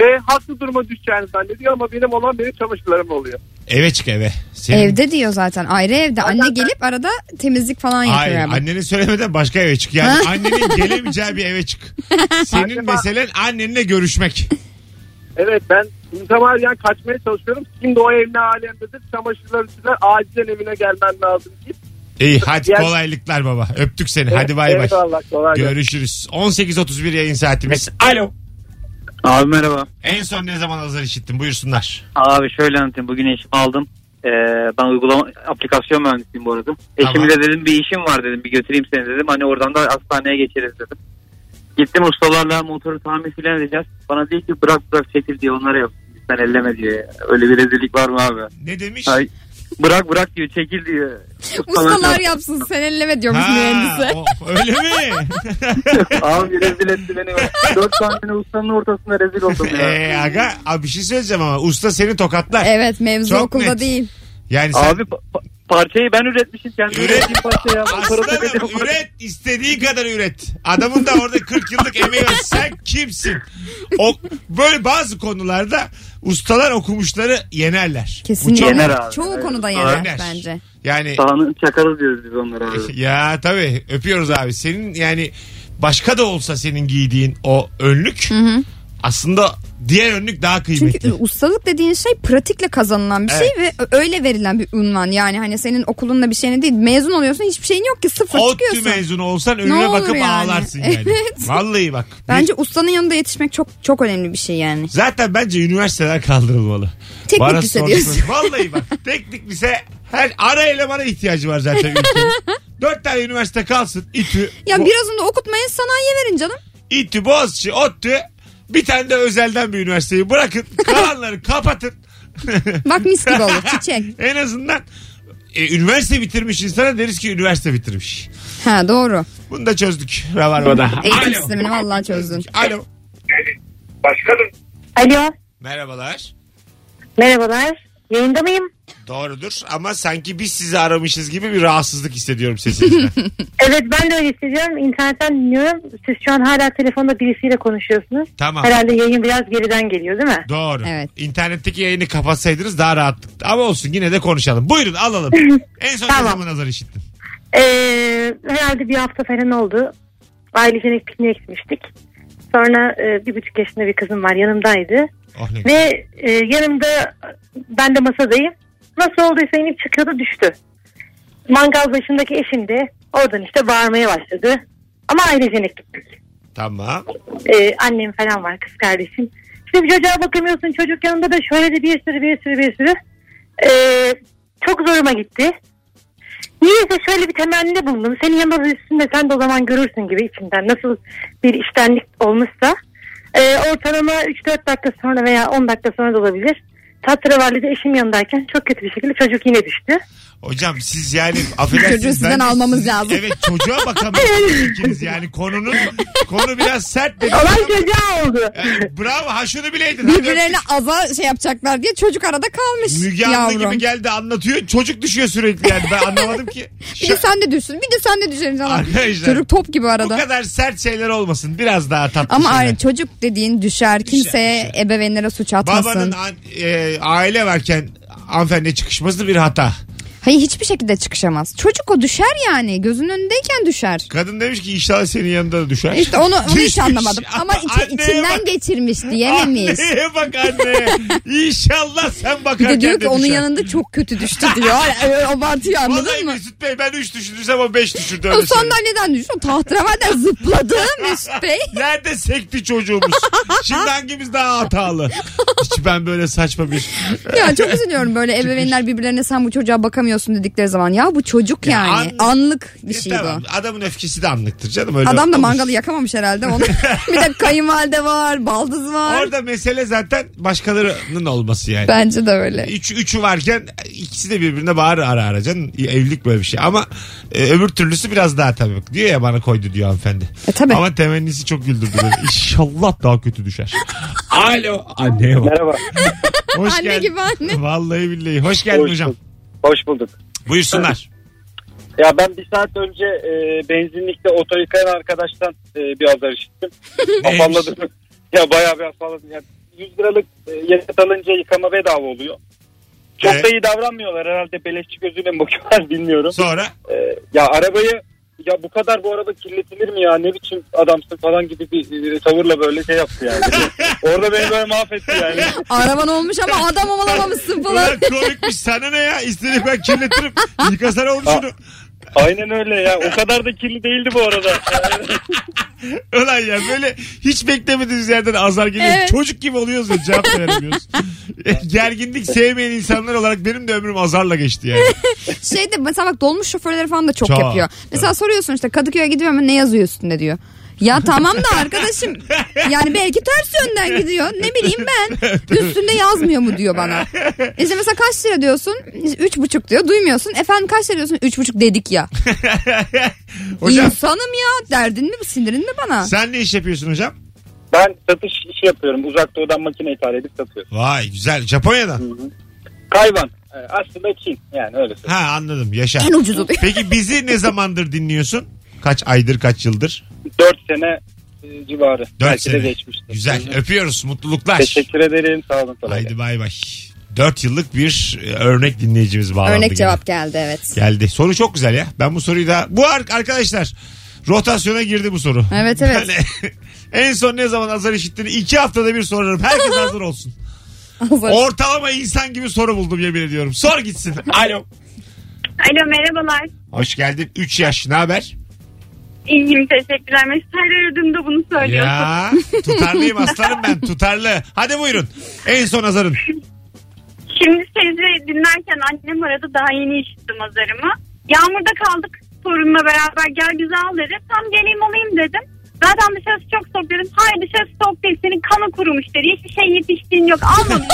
Speaker 5: Ve haklı duruma düşeceğini zannediyor ama benim olan benim çamaşırlarım oluyor.
Speaker 2: Eve çık eve. Senin...
Speaker 3: Evde diyor zaten ayrı evde. Anne gelip arada temizlik falan yapıyor.
Speaker 2: Hayır
Speaker 3: hemen.
Speaker 2: annenin söylemeden başka eve çık. Yani annenin gelemeyeceği bir eve çık. Senin meselen annenle görüşmek.
Speaker 5: Evet ben mütemadiyen kaçmaya çalışıyorum. Şimdi o ev ne alemdedir çamaşırlar üstüne acilen evine gelmen lazım deyip.
Speaker 2: İyi hadi
Speaker 5: Yani-
Speaker 2: kolaylıklar baba. Öptük seni. Hadi bay bay.
Speaker 5: Eyvallah, kolay gelsin.
Speaker 2: Görüşürüz. 18.31 yayın saatimiz. Alo.
Speaker 10: Abi merhaba.
Speaker 2: En son ne zaman azar işittin? Buyursunlar.
Speaker 10: Abi şöyle anlatayım. Bugün eşimi aldım. Ee, ben uygulama aplikasyon mühendisiyim bu arada. Eşimi
Speaker 2: Tamam.
Speaker 10: de dedim bir işim var dedim. Bir götüreyim seni dedim. Hani oradan da hastaneye geçeriz dedim. Gittim ustalarla motoru tamir filan edeceğiz. Bana diyor ki bırak bırak çekil diye onlara yap. Sen elleme diyor. ya. Öyle bir rezillik var mı abi?
Speaker 2: Ne demiş?
Speaker 10: Ay, bırak bırak diyor çekil diyor.
Speaker 3: Ustalar yapsın sen elleme diyormuş
Speaker 2: Ha,
Speaker 3: mühendise.
Speaker 2: o- öyle mi?
Speaker 10: Abi rezil etti beni. Dört tane ustanın ortasında rezil oldum ya.
Speaker 2: ee, aga abi bir şey söyleyeceğim ama usta seni tokatlar.
Speaker 3: Evet mevzu
Speaker 2: Çok
Speaker 3: okulda
Speaker 2: net.
Speaker 3: değil.
Speaker 2: Yani sen
Speaker 10: Abi pa- pa- parçayı ben üretmişim. Kendi
Speaker 2: Üret.
Speaker 10: ürettiğim parça ya.
Speaker 2: Aslanım üret istediği kadar üret. Adamın da orada 40 yıllık emeği var. Sen kimsin? O, böyle bazı konularda ustalar okumuşları yenerler.
Speaker 3: Kesinlikle.
Speaker 10: Yener abi.
Speaker 3: Çoğu
Speaker 10: Evet,
Speaker 3: konuda
Speaker 10: doğru.
Speaker 3: yener
Speaker 2: Yener.
Speaker 3: bence.
Speaker 2: Yani
Speaker 10: Sahanı çakarız diyoruz biz onlara abi.
Speaker 2: ya tabii öpüyoruz abi. Senin yani başka da olsa senin giydiğin o önlük aslında diğer önlük daha kıymetli.
Speaker 3: Çünkü ustalık dediğin şey pratikle kazanılan bir şey ve öyle verilen bir unvan. Yani hani senin okulunla bir şeyine değil mezun oluyorsun hiçbir şeyin yok ki sıfır
Speaker 2: ODTÜ
Speaker 3: çıkıyorsun.
Speaker 2: mezunu olsan önüne
Speaker 3: olur
Speaker 2: bakıp
Speaker 3: yani.
Speaker 2: ağlarsın yani.
Speaker 3: Evet.
Speaker 2: Vallahi bak.
Speaker 3: Bence ustanın yanında yetişmek çok çok önemli bir şey yani.
Speaker 2: Zaten bence üniversiteler kaldırılmalı.
Speaker 3: Teknik
Speaker 2: Bana
Speaker 3: lise
Speaker 2: sorsun-
Speaker 3: diyorsun.
Speaker 2: Vallahi bak teknik lise her ara elemana ihtiyacı var zaten ülkenin. Dört tane üniversite kalsın. İTÜ,
Speaker 3: Ya
Speaker 2: Bo-
Speaker 3: birazını da okutmayın sanayiye verin canım.
Speaker 2: İTÜ, Boğaziçi, ODTÜ. Bir tane de özelden bir üniversiteyi bırakın. Kalanları kapatın.
Speaker 3: Bak mis gibi olur çiçek.
Speaker 2: en azından e, üniversite bitirmiş insana deriz ki üniversite bitirmiş.
Speaker 3: Ha doğru.
Speaker 2: Bunu da çözdük. Rabarba'da.
Speaker 3: Eğitim
Speaker 2: Alo.
Speaker 3: sistemini vallahi çözdün.
Speaker 2: Alo.
Speaker 5: Başkanım.
Speaker 11: Alo.
Speaker 2: Merhabalar.
Speaker 11: Merhabalar. Yayında mıyım?
Speaker 2: Doğrudur ama sanki biz sizi aramışız gibi bir rahatsızlık hissediyorum sesinizden.
Speaker 11: Evet ben de öyle hissediyorum. İnternetten dinliyorum. Siz şu an hala telefonda birisiyle konuşuyorsunuz.
Speaker 2: Tamam.
Speaker 11: Herhalde yayın biraz geriden geliyor değil mi?
Speaker 2: Doğru.
Speaker 3: Evet.
Speaker 2: İnternetteki yayını kapatsaydınız daha rahatlık. Ama olsun yine de konuşalım. Buyurun alalım. en son ne
Speaker 11: Tamam.
Speaker 2: zaman azar işittin?
Speaker 11: Ee, herhalde bir hafta falan oldu. Ailecek pikniğe gitmiştik. Sonra e, bir buçuk yaşında bir kızım var yanımdaydı.
Speaker 2: Oh ne güzel.
Speaker 11: Ve e, yanımda ben de masadayım. Nasıl olduysa inip çıkıyordu düştü. Mangal başındaki eşim de oradan işte bağırmaya başladı. Ama ailecek gittik.
Speaker 2: Tamam.
Speaker 11: Ee, annem falan var kız kardeşim. İşte bir çocuğa bakamıyorsun çocuk yanında da şöyle de bir sürü bir sürü bir sürü. Ee, çok zoruma gitti. Niyeyse şöyle bir temennide bulundum. Senin yanında da üstünde sen de o zaman görürsün gibi içimden. Nasıl bir iştenlik olmuşsa. Ee, ortalama 3-4 dakika sonra veya 10 dakika sonra da olabilir. Tatravalli'de eşim yanındayken çok kötü bir şekilde çocuk yine düştü.
Speaker 2: Hocam siz yani affedersiniz.
Speaker 3: Çocuğu sizden
Speaker 2: ben de
Speaker 3: almamız
Speaker 2: sizi-
Speaker 3: lazım.
Speaker 2: Evet çocuğa bakamıyorsunuz ikiniz yani konunun konu biraz sert dedi.
Speaker 11: Olay çocuğa oldu.
Speaker 2: Yani bravo ha şunu bileydin. Hadi
Speaker 3: Birbirlerine
Speaker 2: öptük.
Speaker 3: aza şey yapacaklar diye çocuk arada kalmış
Speaker 2: Müge Anlı
Speaker 3: yavrum.
Speaker 2: gibi geldi anlatıyor çocuk düşüyor sürekli yani ben anlamadım ki.
Speaker 3: Bir de sen de düşsün. Bir de sen de düşerim sana.
Speaker 2: Arkadaşlar,
Speaker 3: Çocuk top gibi
Speaker 2: Bu
Speaker 3: arada.
Speaker 2: kadar sert şeyler olmasın biraz daha tatlı
Speaker 3: Ama
Speaker 2: şeyler.
Speaker 3: aile çocuk dediğin düşer. Kimseye ebeveynlere suç atmasın.
Speaker 2: Babanın an- e, aile varken hanımefendiye çıkışması bir hata.
Speaker 3: Hayır hiçbir şekilde çıkışamaz. Çocuk o düşer yani. Gözünün önündeyken düşer.
Speaker 2: Kadın demiş ki inşallah senin yanında da düşer.
Speaker 3: İşte onu, onu
Speaker 2: Düşmüş.
Speaker 3: hiç anlamadım. Ama içi-
Speaker 2: Anneye
Speaker 3: içinden
Speaker 2: bak.
Speaker 3: geçirmiş diyemeyiz.
Speaker 2: Anneye bak anne. İnşallah sen
Speaker 3: Bir
Speaker 2: bakarken
Speaker 3: de diyor ki
Speaker 2: de
Speaker 3: onun
Speaker 2: düşer.
Speaker 3: yanında çok kötü düştü diyor. Hani öyle Abartıyor
Speaker 2: Vallahi
Speaker 3: anladın mı?
Speaker 2: Mesut Bey ben 3 düşürdüysem o 5 düşürdü.
Speaker 3: O
Speaker 2: öyle söyleyeyim.
Speaker 3: sandalyeden düştü. O tahtravalden zıpladı Mesut Bey.
Speaker 2: Nerede sekti çocuğumuz? Şimdi hangimiz daha hatalı? Hiç ben böyle saçma bir...
Speaker 3: Ya çok üzülüyorum böyle ebeveynler birbirlerine sen bu çocuğa yapmıyorsun dedikleri zaman ya bu çocuk
Speaker 2: Ya
Speaker 3: yani
Speaker 2: an-
Speaker 3: anlık bir
Speaker 2: Ya
Speaker 3: şeydi
Speaker 2: tamam,
Speaker 3: o.
Speaker 2: Adamın öfkesi de anlıktır canım. Öyle şey
Speaker 3: Adam da
Speaker 2: olmuş.
Speaker 3: mangalı yakamamış herhalde onu. bir de kayınvalide var, baldız var.
Speaker 2: Orada mesele zaten başkalarının olması yani.
Speaker 3: Bence de öyle.
Speaker 2: Üç, üçü varken ikisi de birbirine bağır ara ara canım. Evlilik böyle bir şey. Ama e, öbür türlüsü biraz daha tabii. Diyor ya bana koydu diyor hanımefendi.
Speaker 3: E tabii.
Speaker 2: Ama temennisi çok güldürdü beni. İnşallah daha kötü düşer. Alo. Anneye bak.
Speaker 10: Merhaba.
Speaker 2: Hoş
Speaker 3: Anne
Speaker 2: geldin.
Speaker 3: gibi anne.
Speaker 2: Vallahi billahi. Hoş geldin
Speaker 10: Hoş
Speaker 2: hocam.
Speaker 10: Hoş bulduk.
Speaker 2: Buyursunlar.
Speaker 10: Ya ben bir saat önce e, benzinlikte oto yıkayan arkadaştan e, bir azar işittim.
Speaker 2: Neymiş?
Speaker 10: Afalladım. ya bayağı bir afalladım. Yani 100 liralık e, yakıt alınca yıkama bedava oluyor. Çok
Speaker 2: Evet.
Speaker 10: da iyi davranmıyorlar herhalde beleşçi gözüyle mi bakıyorlar bilmiyorum.
Speaker 2: Sonra
Speaker 10: E, ya arabayı ya bu kadar bu araba kirletilir mi ya ne biçim adamsın falan gibi bir e, tavırla böyle şey yaptı yani. Orada beni böyle mahvetti yani.
Speaker 3: Araban olmuş ama adam olamamışsın falan.
Speaker 2: Ulan komikmiş sana ne ya? İstediğim ben kirletirim. Yıkasana oğlum şunu.
Speaker 10: Aynen öyle ya. O kadar da kirli değildi bu arada.
Speaker 2: Ulan ya böyle hiç beklemediğiniz yerden azar geliyor.
Speaker 3: Evet.
Speaker 2: Çocuk gibi oluyoruz ve cevap da veremiyoruz. Gerginlik sevmeyen insanlar olarak benim de ömrüm azarla geçti yani.
Speaker 3: Şeyde mesela bak dolmuş şoförleri falan da çok,
Speaker 2: Çok.
Speaker 3: yapıyor. Mesela soruyorsun işte Kadıköy'e gidiyor mu ne yazıyor üstünde diyor. Ya tamam da arkadaşım yani belki ters yönden gidiyor. Ne bileyim ben. Üstünde yazmıyor mu diyor bana. İşte mesela kaç lira diyorsun? Üç buçuk diyor. Duymuyorsun. Efendim kaç lira diyorsun? Üç buçuk dedik ya.
Speaker 2: Hocam
Speaker 3: İnsanım ya. Derdin mi? Sinirin mi bana?
Speaker 2: sen ne iş yapıyorsun hocam?
Speaker 10: Ben satış işi yapıyorum. Uzak doğudan makine ithal edip satıyorum.
Speaker 2: Vay güzel. Japonya'da.
Speaker 10: Kayvan. Ee, Aslında Çin. Yani öyle söyleyeyim.
Speaker 2: Ha anladım yaşa.
Speaker 3: En ucuzu diyor.
Speaker 2: Peki bizi ne zamandır dinliyorsun? Kaç aydır kaç yıldır?
Speaker 10: 4 sene e, civarı.
Speaker 2: Dört
Speaker 10: Belki
Speaker 2: sene.
Speaker 10: de geçmiştir.
Speaker 2: Güzel öpüyoruz mutluluklar.
Speaker 10: Teşekkür ederim. Sağ olun. kolay gelsin.
Speaker 2: Haydi bay bay.
Speaker 7: Ee,
Speaker 2: 4 yıllık bir e, örnek dinleyicimiz bağlandı.
Speaker 3: Örnek
Speaker 2: gene.
Speaker 3: cevap geldi evet.
Speaker 2: Geldi. Soru çok güzel ya. Ben bu soruyu da... Bu ar- arkadaşlar rotasyona girdi bu soru.
Speaker 3: Evet, evet.
Speaker 2: Ben- en son ne zaman azar işittiğini iki haftada bir sorarım. Herkes hazır olsun.
Speaker 3: Hazır.
Speaker 2: Ortalama insan gibi soru buldum yemin ediyorum. Sor gitsin. Alo.
Speaker 4: Alo merhabalar.
Speaker 2: Hoş geldin. 3 yaş. Ne haber?
Speaker 4: İyiyim teşekkürler. Mesajlar aradığımda bunu söylüyorsun.
Speaker 2: Ya tutarlıyım aslanım ben tutarlı. Hadi buyurun. En son azarın.
Speaker 4: Şimdi sizi dinlerken annem aradı daha yeni işittim azarımı. Yağmurda kaldık sorunla beraber gel güzel al dedi. Tam geleyim alayım dedim. Zaten dışarısı çok soğuk dedim. Hayır dışarısı soğuk değil senin kanı kurumuş dedi. Hiçbir şey yetiştiğin yok almadım.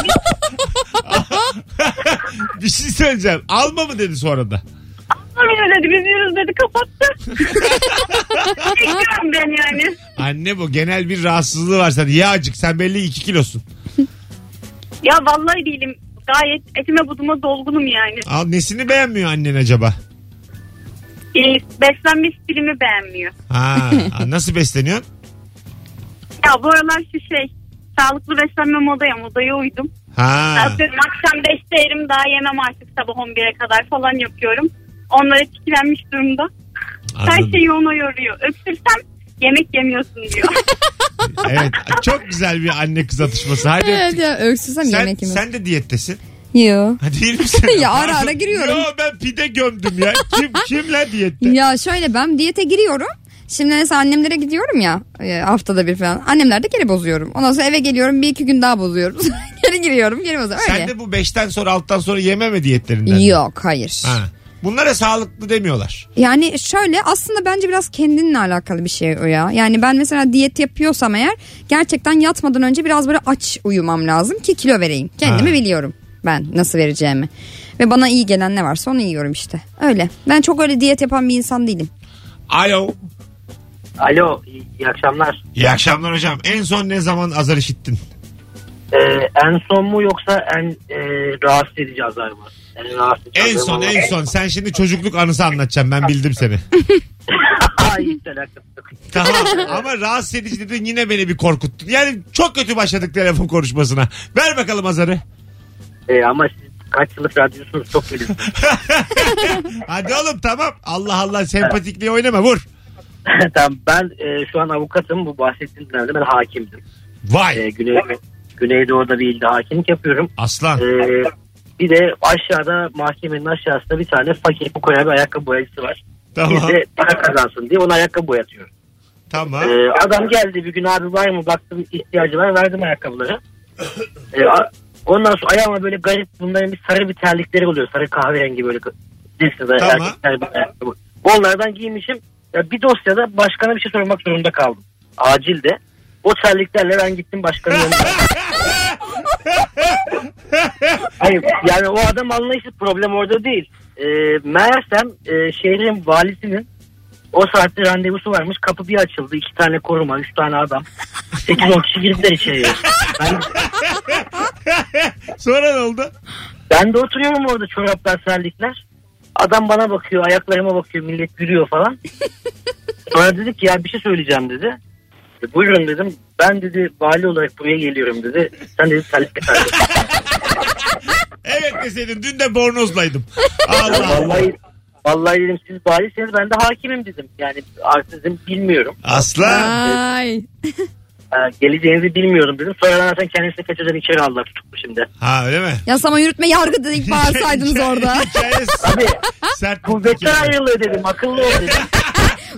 Speaker 2: bir şey söyleyeceğim. Alma mı dedi sonra da.
Speaker 4: Almadım dedi biz yürüyoruz dedi kapattı. Bekliyorum ben yani.
Speaker 2: Anne bu genel bir rahatsızlığı var sende. Yağcık sen belli 2 kilosun.
Speaker 4: Ya vallahi değilim gayet etime buduma dolgunum yani.
Speaker 2: Al nesini beğenmiyor annen acaba?
Speaker 4: Ee, beslenme stilimi beğenmiyor.
Speaker 2: Ha, nasıl besleniyorsun?
Speaker 4: Ya bu aralar şu şey sağlıklı beslenme modaya modaya uydum.
Speaker 2: Ha.
Speaker 4: Atıyorum akşam 5'te yerim daha yemem artık sabah 11'e kadar falan yapıyorum. Onlara etkilenmiş durumda. Her
Speaker 2: anladım.
Speaker 4: şeyi ona yoruyor. Öksürsem yemek yemiyorsun diyor.
Speaker 2: Evet. Çok güzel bir anne kız atışması. Hadi
Speaker 3: Evet
Speaker 2: öptük.
Speaker 3: ya öksüzsem
Speaker 2: Sen,
Speaker 3: yemek yemem.
Speaker 2: sen de diyettesin.
Speaker 3: Yo.
Speaker 2: Ha değil misin?
Speaker 3: Ya ara ara giriyorum.
Speaker 2: Yo ben pide gömdüm ya. Kim kimle diyette?
Speaker 3: Ya şöyle ben diyete giriyorum. Şimdi mesela annemlere gidiyorum ya e, haftada bir falan. Annemlerde geri bozuyorum. Ondan sonra eve geliyorum bir iki gün daha bozuyorum. geri giriyorum geri bozuyorum.
Speaker 2: Sen
Speaker 3: Öyle.
Speaker 2: de bu 5'ten sonra 6'tan sonra yememe diyetlerinden. mi?
Speaker 3: Yok hayır.
Speaker 2: Ha. Bunlara sağlıklı demiyorlar.
Speaker 3: Yani şöyle aslında bence biraz kendinle alakalı bir şey o ya. Yani ben mesela diyet yapıyorsam eğer gerçekten yatmadan önce biraz böyle aç uyumam lazım ki kilo vereyim. Kendimi
Speaker 2: Ha.
Speaker 3: biliyorum ben nasıl vereceğimi. Ve bana iyi gelen ne varsa onu yiyorum işte. Öyle. Ben çok öyle diyet yapan bir insan değilim.
Speaker 2: Alo.
Speaker 12: Alo iyi, iyi akşamlar.
Speaker 2: İyi akşamlar hocam. En son ne zaman azar işittin?
Speaker 12: Ee, en son mu yoksa en e, rahatsız edici azar mı? En, rahatsız edici
Speaker 2: En
Speaker 12: azar
Speaker 2: son
Speaker 12: mı?
Speaker 2: en son. Sen şimdi çocukluk anısı anlatacağım. Ben bildim seni.
Speaker 12: Ay, hiç alakası yok.
Speaker 2: Tamam ama rahatsız edici dedin yine beni bir korkuttun. Yani çok kötü başladık telefon konuşmasına. Ver bakalım azarı.
Speaker 12: Ee, ama siz kaç yıllık radyosunuz çok biliyorsunuz.
Speaker 2: Hadi oğlum tamam. Allah Allah sempatikliği oynama vur.
Speaker 12: tamam, ben e, şu an avukatım. Bu bahsettiğim dönemde ben hakimdim. Ee,
Speaker 2: Vay
Speaker 12: Güney, Güneydoğu'da bir ilde hakimlik yapıyorum.
Speaker 2: aslan.
Speaker 12: Ee, bir de aşağıda mahkemenin aşağısında bir tane fakir bu koyan bir ayakkabı boyacısı var.
Speaker 2: Tamam
Speaker 12: Biz de para kazansın diye ona ayakkabı boyatıyoruz.
Speaker 2: tamam.
Speaker 12: Ee, adam geldi bir gün abi var mı baktım ihtiyacı var verdim ayakkabıları. Ee, a- ondan sonra ayağıma böyle garip bunların bir sarı bir terlikleri oluyor. Sarı kahverengi böyle bilirsin zaten
Speaker 2: Tamam.
Speaker 12: erkekler bir ayakkabı. Onlardan giymişim. Ya bir dosyada başkana bir şey sormak zorunda kaldım. Acil de. O terliklerle ben gittim başkanın yanına. Hayır yani o adam anlayışı problem orada değil. Ee, meğersem e, şehrin valisinin o saatte randevusu varmış. Kapı bir açıldı. iki tane koruma, üç tane adam. 8-10 kişi girdiler içeriye. Ben,
Speaker 2: Sonra ne oldu?
Speaker 12: ben de oturuyorum orada çoraplar, serlikler. Adam bana bakıyor, ayaklarıma bakıyor, millet yürüyor falan. Sonra dedik ki ya bir şey söyleyeceğim dedi. E, Buyurun dedim. Ben dedi vali olarak buraya geliyorum dedi. Sen dedi terlikle terlikle.
Speaker 2: Evet deseydin dün de bornozlaydım. Allah Allah.
Speaker 12: Vallahi, vallahi dedim siz valisiniz ben de hakimim dedim. Yani artık dedim bilmiyorum.
Speaker 2: Aslan.
Speaker 3: Ay.
Speaker 12: Ee, geleceğinizi bilmiyorum dedim. Sonradan zaten kendisini kaçırdan içeri aldılar tutuklu şimdi.
Speaker 2: Ha öyle mi?
Speaker 3: Yasama yürütme yargı dedik bağırsaydınız orada.
Speaker 2: Hikaye
Speaker 12: Abi
Speaker 2: sert.
Speaker 12: kuvvetten ayrılıyor dedim akıllı ol dedim.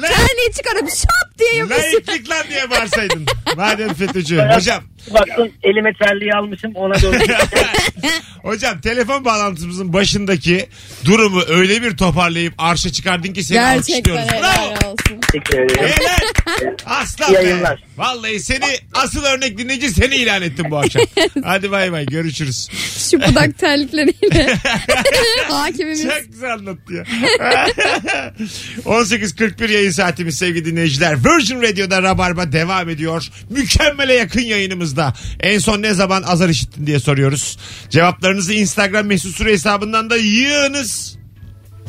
Speaker 3: Terliği çıkarıp şap diye yapıştı.
Speaker 2: Layıklık lan diye bağırsaydın. Madem FETÖ'cü. Hocam
Speaker 12: Baktım elime terliği almışım ona doğru.
Speaker 2: Hocam telefon bağlantımızın başındaki durumu öyle bir toparlayıp arşa çıkardın ki seni
Speaker 13: Gerçekten
Speaker 2: alkışlıyoruz.
Speaker 13: helal
Speaker 2: Bravo.
Speaker 13: olsun.
Speaker 12: Teşekkür ederim.
Speaker 2: Helal. Aslan
Speaker 12: İyi
Speaker 2: be.
Speaker 12: yayınlar.
Speaker 2: Vallahi seni asıl örnek dinleyici seni ilan ettim bu akşam. Hadi bay bay görüşürüz.
Speaker 3: Şu budak terlikleriyle. Hakimimiz.
Speaker 2: Çok güzel anlattı ya. 18.41 yayın saatimiz sevgili dinleyiciler. Virgin Radio'da Rabarba devam ediyor. Mükemmele yakın yayınımızda. En son ne zaman azar işittin diye soruyoruz. Cevaplarınızı Instagram mesut süre hesabından da yığınız.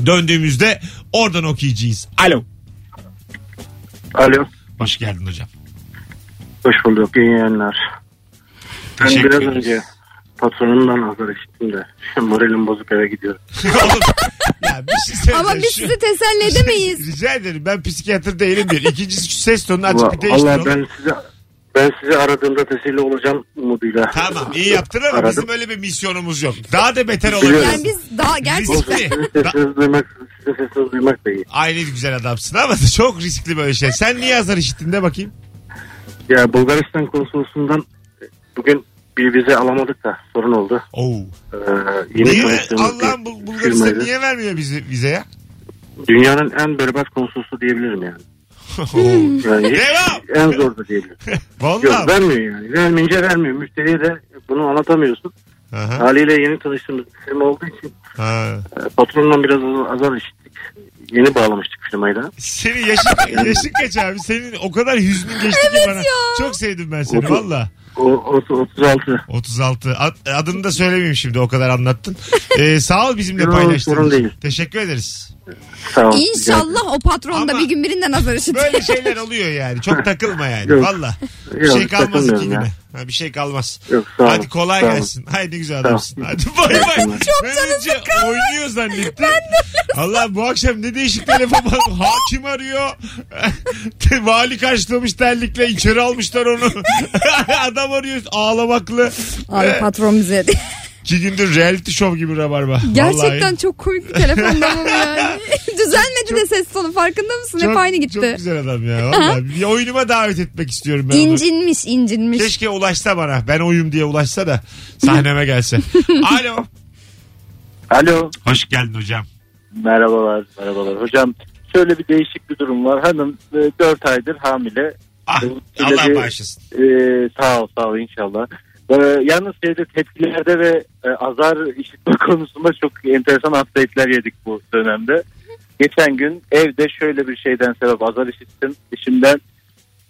Speaker 2: Döndüğümüzde oradan okuyacağız. Alo.
Speaker 7: Alo.
Speaker 2: Hoş geldin hocam.
Speaker 7: Hoş bulduk. İyi yayınlar. Ben
Speaker 2: Teşekkür
Speaker 7: biraz
Speaker 2: ederiz.
Speaker 7: önce patronumdan hazır işittim de. Şimdi moralim bozuk eve gidiyorum.
Speaker 2: Oğlum, ya bir şey söyleyeceğim.
Speaker 3: Ama biz
Speaker 2: Şu-
Speaker 3: sizi teselli edemeyiz.
Speaker 2: Rica ederim ben psikiyatr değilim bir. İkincisi şu ses tonunu açıp bir değiştir.
Speaker 7: Valla
Speaker 2: oğlum.
Speaker 7: ben size ben sizi aradığımda teselli olacağım umuduyla.
Speaker 2: Tamam iyi yaptın ama
Speaker 7: Aradım.
Speaker 2: bizim öyle bir misyonumuz yok. Daha da beter olabilir.
Speaker 7: Biliyorum.
Speaker 3: Yani biz daha gerçekten
Speaker 2: Riskli.
Speaker 7: Sizin
Speaker 2: Da-
Speaker 7: sesinizi duymak, sizin sesinizi duymak da iyi.
Speaker 2: Aynı güzel adamsın ama çok riskli böyle şey. Sen niye azar işittin de bakayım.
Speaker 7: Ya Bulgaristan konsolosundan bugün bir vize alamadık da sorun oldu.
Speaker 2: Oo.
Speaker 7: Ee, yeni
Speaker 2: Niye?
Speaker 7: çalıştığımız bir
Speaker 2: Allah'ım bu, Bulgaristan
Speaker 7: firmaydı.
Speaker 2: niye vermiyor bizi vize ya?
Speaker 7: Dünyanın en berbat konsolosu diyebilirim yani.
Speaker 2: Oo.
Speaker 7: yani hiç-
Speaker 2: Devam.
Speaker 7: en zor da diyebilirim. Yok
Speaker 2: Vallahi.
Speaker 7: vermiyor yani. Vermeyince vermiyor. Müşteriye de bunu anlatamıyorsun.
Speaker 2: Aha.
Speaker 7: Haliyle yeni tanıştığımız bir firma olduğu için
Speaker 2: Ha.
Speaker 7: e, patrondan biraz az- azar işittik. Yeni bağlamıştık firmayı da.
Speaker 2: Senin yaşın, yaşın kaç abi? Senin o kadar hüznün geçti ki bana. Çok sevdim ben seni
Speaker 7: Otuz.
Speaker 2: valla.
Speaker 7: O, o- 36.
Speaker 2: 36. Ad- adını da söylemeyeyim şimdi o kadar anlattın. Ee, sağ ol bizimle
Speaker 7: Yok,
Speaker 2: paylaştığın
Speaker 7: sorun
Speaker 2: için.
Speaker 7: değil.
Speaker 2: Teşekkür ederiz.
Speaker 7: Sağ ol.
Speaker 3: inşallah o patron da
Speaker 2: Ama-
Speaker 3: bir gün birinden azar işitir.
Speaker 2: Böyle şeyler oluyor yani. Çok takılma yani.
Speaker 7: Yok.
Speaker 2: Valla. Bir
Speaker 7: Yok,
Speaker 2: şey kalmaz iki
Speaker 7: takılmıyorum ya.
Speaker 2: güne. Ha, bir şey kalmaz.
Speaker 7: Yok, sağ olun.
Speaker 2: Hadi kolay
Speaker 7: Sağ olun.
Speaker 2: gelsin. Haydi güzel
Speaker 7: Sağ olun.
Speaker 2: adamsın. Hadi bay bay.
Speaker 7: Çok
Speaker 2: Ben önce oynuyor zannettim. Allah bu akşam ne değişik telefon var. Hakim arıyor. Vali karşılamış terlikle içeri almışlar onu. Adam arıyor ağlamaklı.
Speaker 3: Abi patron bize.
Speaker 2: İki gündür reality show gibi rabarba.
Speaker 3: Gerçekten
Speaker 2: Vallahi.
Speaker 3: çok komik bir telefonda bu yani. Düzelmedi de ses tonu farkında mısın? Hep aynı
Speaker 2: Çok
Speaker 3: gitti.
Speaker 2: güzel adam ya. Vallahi. bir oyunuma davet etmek istiyorum ben onu.
Speaker 3: incinmiş incinmiş.
Speaker 2: Keşke ulaşsa bana. Ben oyum diye ulaşsa da sahneme gelse. Alo.
Speaker 10: Alo.
Speaker 2: Hoş geldin hocam.
Speaker 10: Merhabalar, merhabalar. Hocam şöyle bir değişik bir durum var. Hanım 4 aydır hamile.
Speaker 2: Ah,
Speaker 10: Şöyle
Speaker 2: Allah
Speaker 10: bir-
Speaker 2: bağışlasın.
Speaker 10: E, sağ ol, sağ ol inşallah. E, yalnız şeyde tepkilerde ve e, azar işitme konusunda çok enteresan update'ler yedik bu dönemde. Geçen gün evde şöyle bir şeyden sebep azar işittim. Eşimden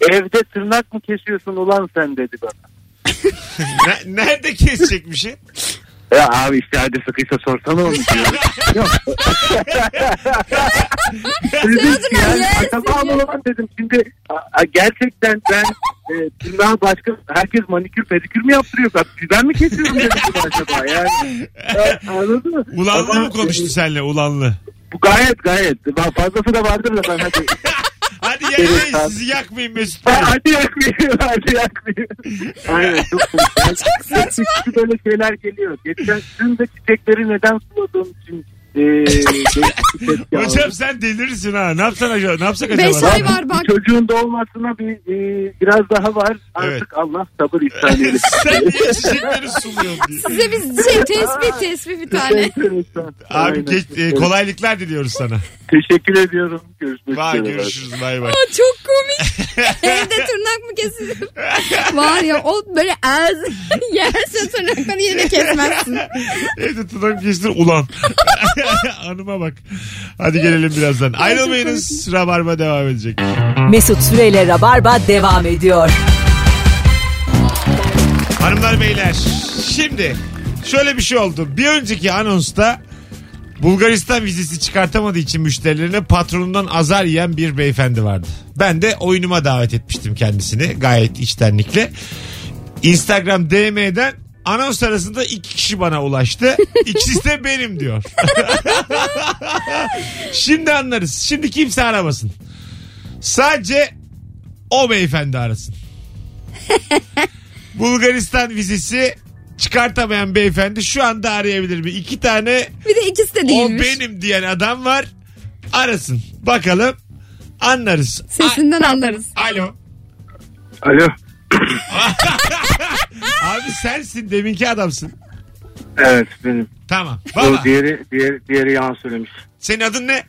Speaker 10: evde tırnak mı kesiyorsun ulan sen dedi bana.
Speaker 2: Ne- nerede kesecekmişi?
Speaker 10: Ya abi işte hadi sıkıysa sorsana onu diyor. Dedim ki yani, "Tamam ulan," dedim. Şimdi a- a- gerçekten ben e, tırnağı başka herkes manikür pedikür mü yaptırıyor? Ben, ben mi kesiyorum dedim bunu acaba yani. E, Anladın mı?
Speaker 2: Ulanlı
Speaker 10: Ama,
Speaker 2: mı konuştu senle ulanlı?
Speaker 10: e, Bu gayet gayet. Ben fazlası da vardır da ben hadi.
Speaker 2: Hadi yayınlayın sizi yakmayın Mesut Bey.
Speaker 10: Ben hadi yakmayayım, hadi yakmayayım. Aynen çok saçma. böyle şeyler geliyor. Geçen gün de çiçekleri neden suladığım için
Speaker 5: e, değişik bir tepki aldı.
Speaker 2: Hocam sen delirirsin ha. Ne yapsan acaba? Ne yapsak acaba?
Speaker 3: Beş ay var bak.
Speaker 5: Bir Çocuğun doğmasına bir e, biraz daha var. Artık
Speaker 2: Evet.
Speaker 5: Allah sabır ihsan eylesin.
Speaker 2: sen niye çiçekleri suluyorsun? diye.
Speaker 3: Size biz şey tespih tespih
Speaker 12: Şey-
Speaker 3: bir tane.
Speaker 5: Teşekkür ederim.
Speaker 2: Abi
Speaker 5: Aynen.
Speaker 2: geç, e, kolaylıklar diliyoruz sana.
Speaker 5: Teşekkür ediyorum. Görüşmek
Speaker 2: Vay
Speaker 5: üzere.
Speaker 2: görüşürüz bay bay.
Speaker 3: Aa, Çok komik. Evde tırnak mı kesilir? Var ya o böyle az yerse tırnakları yine kesmezsin.
Speaker 2: Evde tutam kestir ulan. Hanıma bak. Hadi gelelim birazdan. Ayrılmayınız. Rabarba devam edecek.
Speaker 1: Mesut Süreyle Rabarba devam ediyor.
Speaker 2: Hanımlar beyler şimdi şöyle bir şey oldu. Bir önceki anonsta Bulgaristan vizesi çıkartamadığı için müşterilerine patronundan azar yiyen bir beyefendi vardı. Ben de oyunuma davet etmiştim kendisini gayet içtenlikle. Instagram DM'den anons arasında iki kişi bana ulaştı. İkisi de benim diyor. Şimdi anlarız. Şimdi kimse aramasın. Sadece o beyefendi arasın. Bulgaristan vizesi çıkartamayan beyefendi şu anda arayabilir mi? İki tane
Speaker 3: Bir de ikisi de
Speaker 2: o
Speaker 3: değilmiş.
Speaker 2: benim diyen adam var. Arasın. Bakalım anlarız.
Speaker 3: Sesinden anlarız.
Speaker 2: A- Alo.
Speaker 5: Alo.
Speaker 2: Abi sensin deminki adamsın.
Speaker 5: Evet benim.
Speaker 2: Tamam.
Speaker 5: O
Speaker 2: Valla.
Speaker 5: diğeri, diğeri, diğeri yalan söylemiş.
Speaker 2: Senin adın ne?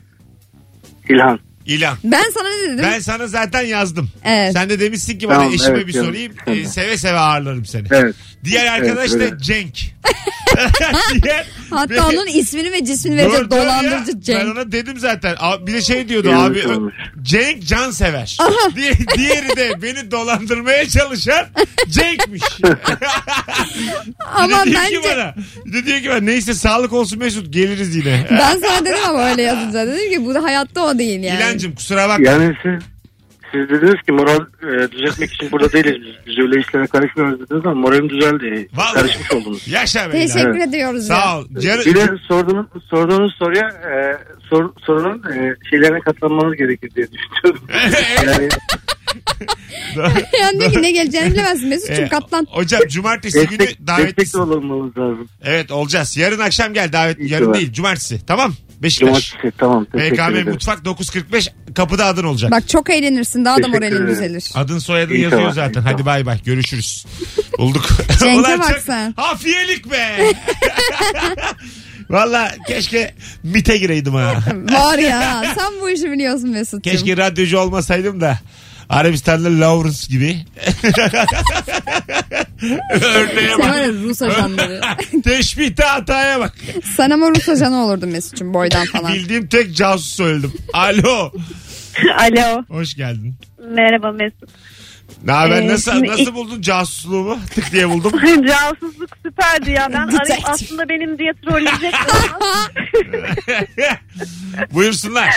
Speaker 5: İlhan.
Speaker 2: İlan.
Speaker 3: Ben sana ne dedim?
Speaker 2: Ben sana zaten yazdım.
Speaker 3: Evet.
Speaker 2: Sen de demişsin ki bana
Speaker 5: Tamam,
Speaker 2: eşime
Speaker 5: evet,
Speaker 2: bir
Speaker 5: canım.
Speaker 2: sorayım.
Speaker 5: Tamam.
Speaker 2: Ee, seve seve ağırlarım seni.
Speaker 5: Evet.
Speaker 2: Diğer arkadaş
Speaker 5: Evet,
Speaker 2: da
Speaker 5: öyle.
Speaker 2: Cenk. Diğer-
Speaker 3: Hatta
Speaker 2: Benim-
Speaker 3: onun ismini ve cismini
Speaker 2: Dur,
Speaker 3: verecek
Speaker 2: dur ya.
Speaker 3: dolandırıcı
Speaker 2: Ben
Speaker 3: Cenk.
Speaker 2: ona dedim zaten. Abi Bir de şey diyordu
Speaker 5: Yanlış
Speaker 2: abi.
Speaker 5: olmuş.
Speaker 2: Cenk can sever. diğeri de beni dolandırmaya çalışan Cenk'miş.
Speaker 3: Ama
Speaker 2: bir de diyor
Speaker 3: bence
Speaker 2: ki bana. Bir de diyor ki bana neyse sağlık olsun Mesut geliriz yine.
Speaker 3: ben sana dedim ama öyle yazınca dedim ki bu da hayatta o değil yani.
Speaker 2: İlancım kusura bakma.
Speaker 5: Yani siz, siz dediniz ki moral e, düzeltmek için burada değiliz. Biz, biz öyle işlere karışmıyoruz dediniz ama moralim düzeldi.
Speaker 2: Vallahi.
Speaker 5: Karışmış oldunuz.
Speaker 2: Yaşa be. İlhan.
Speaker 3: Teşekkür ediyoruz ya.
Speaker 2: Sağ ol. Canı-
Speaker 5: Bir de sorduğunuz, sorduğunuz soruya e, sor, sorunun e, şeylerine katlanmanız gerekir diye düşünüyorum. yani
Speaker 3: Yani diyor ki ne geleceğini bilemezsin Mesut'cum
Speaker 2: Ee,
Speaker 3: katlan.
Speaker 2: Hocam cumartesi günü
Speaker 5: destek, destek de
Speaker 2: davetlisin.
Speaker 5: olmamız lazım.
Speaker 2: Evet olacağız. Yarın akşam gel davet.
Speaker 5: İyi
Speaker 2: Yarın
Speaker 5: var.
Speaker 2: değil cumartesi. Tamam. Beşiktaş.
Speaker 5: Cumartesi tamam teşekkür
Speaker 2: BKM
Speaker 5: ederim.
Speaker 2: Mutfak 9.45 kapıda adın olacak.
Speaker 3: Bak çok eğlenirsin daha da
Speaker 5: Teşekkür
Speaker 3: moralin
Speaker 5: ederim.
Speaker 3: düzelir.
Speaker 2: Adın soyadın
Speaker 5: İyi
Speaker 2: yazıyor
Speaker 5: tamam,
Speaker 2: zaten.
Speaker 5: iyi
Speaker 2: Hadi bay bay görüşürüz. Bulduk.
Speaker 3: Cenk'e
Speaker 2: Ulan çok
Speaker 3: bak sen.
Speaker 2: Hafiyelik be. Valla keşke MIT'e gireydim ha.
Speaker 3: Var ya sen bu işi biliyorsun Mesut'cum.
Speaker 2: Keşke radyocu olmasaydım da. Arabistan'da Lawrence gibi. Örneğe
Speaker 3: Sen var
Speaker 2: bak.
Speaker 3: ya Rus ajanları.
Speaker 2: Teşbihte hataya bak.
Speaker 3: Sen ama Rus ajanı olurdun Mesut'cum boydan falan.
Speaker 2: Bildiğim tek casus söyledim. Alo.
Speaker 4: Alo.
Speaker 2: Hoş geldin.
Speaker 4: Merhaba Mesut.
Speaker 2: Ne haber?
Speaker 4: Ee,
Speaker 2: nasıl,
Speaker 4: şimdi
Speaker 2: nasıl
Speaker 4: ilk-
Speaker 2: buldun casusluğumu? Tık diye buldum.
Speaker 4: Cansızlık süperdi ya. Ben
Speaker 3: Detective.
Speaker 4: arayıp aslında benim diye trolleyecektim.
Speaker 2: Buyursunlar.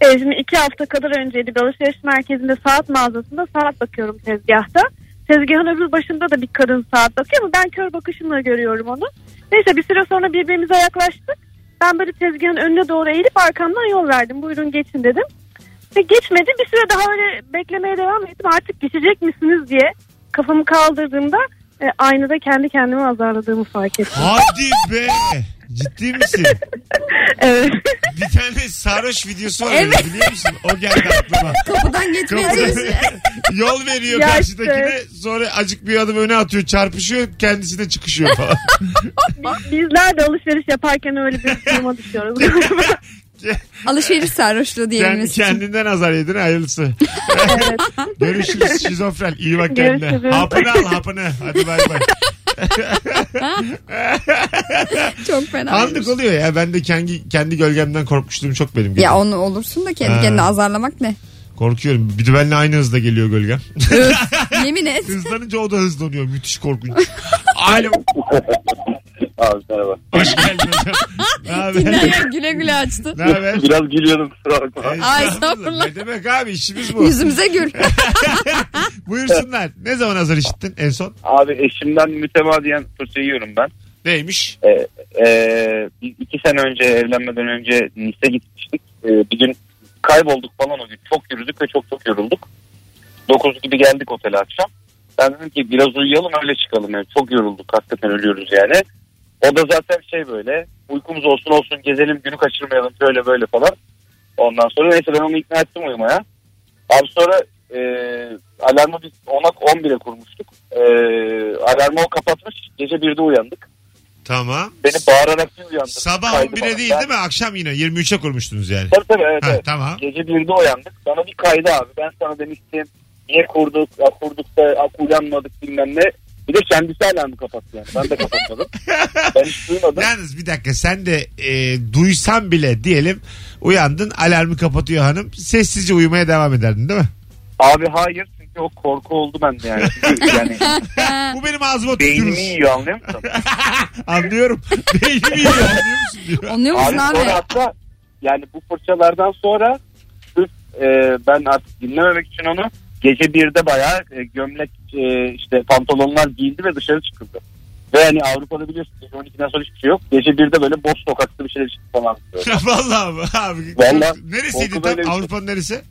Speaker 4: E, şimdi iki hafta kadar önceydi bir alışveriş merkezinde saat mağazasında saat bakıyorum tezgahta. Tezgahın öbür başında da bir kadın saat bakıyor ama ben kör bakışımla görüyorum onu. Neyse bir süre sonra birbirimize yaklaştık. Ben böyle tezgahın önüne doğru eğilip arkamdan yol verdim. Buyurun geçin dedim. Ve geçmedi. Bir süre daha öyle beklemeye devam ettim. Artık geçecek misiniz diye kafamı kaldırdığımda e, aynada kendi kendimi azarladığımı fark ettim.
Speaker 2: Hadi be. Ciddi misin?
Speaker 4: Evet.
Speaker 2: Bir tane sarhoş videosu var evet. biliyor musun? O geldi aklıma.
Speaker 3: Kapıdan geçmeye
Speaker 2: Kapıda
Speaker 3: çalışıyor.
Speaker 2: yol veriyor
Speaker 4: Ya
Speaker 2: karşıdakine sonra acık bir adım öne atıyor çarpışıyor kendisine çıkışıyor falan.
Speaker 4: Bizler de alışveriş yaparken öyle bir duruma düşüyoruz.
Speaker 3: Alışveriş sarhoşluğu diyelim
Speaker 2: Kendi,
Speaker 3: Mesut'cum.
Speaker 2: kendinden azar yedin hayırlısı. Görüşürüz şizofren iyi bak kendine.
Speaker 4: Görüşürüz.
Speaker 2: Hapını al hapını hadi bay bay.
Speaker 3: Çok fena.
Speaker 2: Anlık oluyor ya ben de kendi, kendi gölgemden korkmuşluğum çok benim. gece.
Speaker 3: Ya onu olursun da kendi
Speaker 2: Ha.
Speaker 3: kendini azarlamak ne?
Speaker 2: Korkuyorum bir de benimle aynı hızda geliyor gölgem.
Speaker 3: Yemin et.
Speaker 2: Hızlanınca o da hızlanıyor müthiş korkunç. Alo
Speaker 10: Abi merhaba.
Speaker 2: hoş geldin hocam. Ne haber?
Speaker 3: Dinleyen güle güle açtı.
Speaker 2: Ne haber? Ee,
Speaker 10: Biraz gülüyordum kusura bakma.
Speaker 3: Ay, estağfurullah.
Speaker 2: Ne demek abi işimiz bu.
Speaker 3: Yüzümüze gül.
Speaker 2: Buyursunlar. Ne zaman hazır işittin en son?
Speaker 10: Abi eşimden mütemadiyen fırça yiyorum ben.
Speaker 2: Neymiş?
Speaker 10: Ee, biz iki sene önce evlenmeden önce Nice gitmiştik. Ee, bir gün kaybolduk falan o gün. Çok yürüdük ve çok çok yorulduk. 9 gibi geldik otele akşam. Ben dedim ki biraz uyuyalım öyle çıkalım. Yani çok yorulduk hakikaten ölüyoruz yani. O da zaten şey böyle uykumuz olsun olsun gezelim günü kaçırmayalım şöyle böyle falan. Ondan sonra neyse ben onu ikna ettim uyumaya. Abi sonra e, alarmı biz 10'a 11'e kurmuştuk. E, alarmı o kapatmış gece 1'de uyandık.
Speaker 2: Tamam.
Speaker 10: Beni bağırarak bir uyandırdı.
Speaker 2: Sabah
Speaker 10: Kaydı
Speaker 2: 11'e
Speaker 10: bana.
Speaker 2: değil
Speaker 10: Ben-
Speaker 2: değil mi? Akşam yine 23'e kurmuştunuz yani.
Speaker 10: Tabii tabii evet,
Speaker 2: Ha,
Speaker 10: evet.
Speaker 2: Tamam.
Speaker 10: Gece 1'de uyandık. Bana bir kaydı abi. Ben sana demiştim. Niye kurduk? Ya kurduk da ya uyanmadık bilmem ne. Bir de kendisi alarmı kapattı yani. Ben de kapatmadım. ben hiç duymadım.
Speaker 2: Yalnız bir dakika sen de e, duysan bile diyelim uyandın alarmı kapatıyor hanım. Sessizce uyumaya devam ederdin değil mi?
Speaker 10: Abi hayır. Çünkü o korku oldu bende yani. Çünkü yani
Speaker 2: Bu benim ağzıma
Speaker 10: beynimi
Speaker 2: tükürür.
Speaker 10: yiyor anlıyor musun?
Speaker 2: Anlıyorum. Beynimi yiyor anlıyor musun diyor.
Speaker 3: Anlıyor musun
Speaker 10: Abi
Speaker 3: abi?
Speaker 10: sonra hatta yani bu fırçalardan sonra sırf, e, ben artık dinlememek için onu gece birde bayağı e, gömlek e, işte pantolonlar giyildi ve dışarı çıkıldı. Ve hani Avrupa'da biliyorsun gece 12'den sonra hiçbir şey yok. Gece birde böyle boş sokakta bir şeyler çıktı falan. Böyle.
Speaker 2: Vallahi abi. abi.
Speaker 10: Vallahi.
Speaker 2: Neresiydi
Speaker 10: Korku
Speaker 2: tam?
Speaker 10: böyle bir şey.
Speaker 2: Avrupa'nın neresi?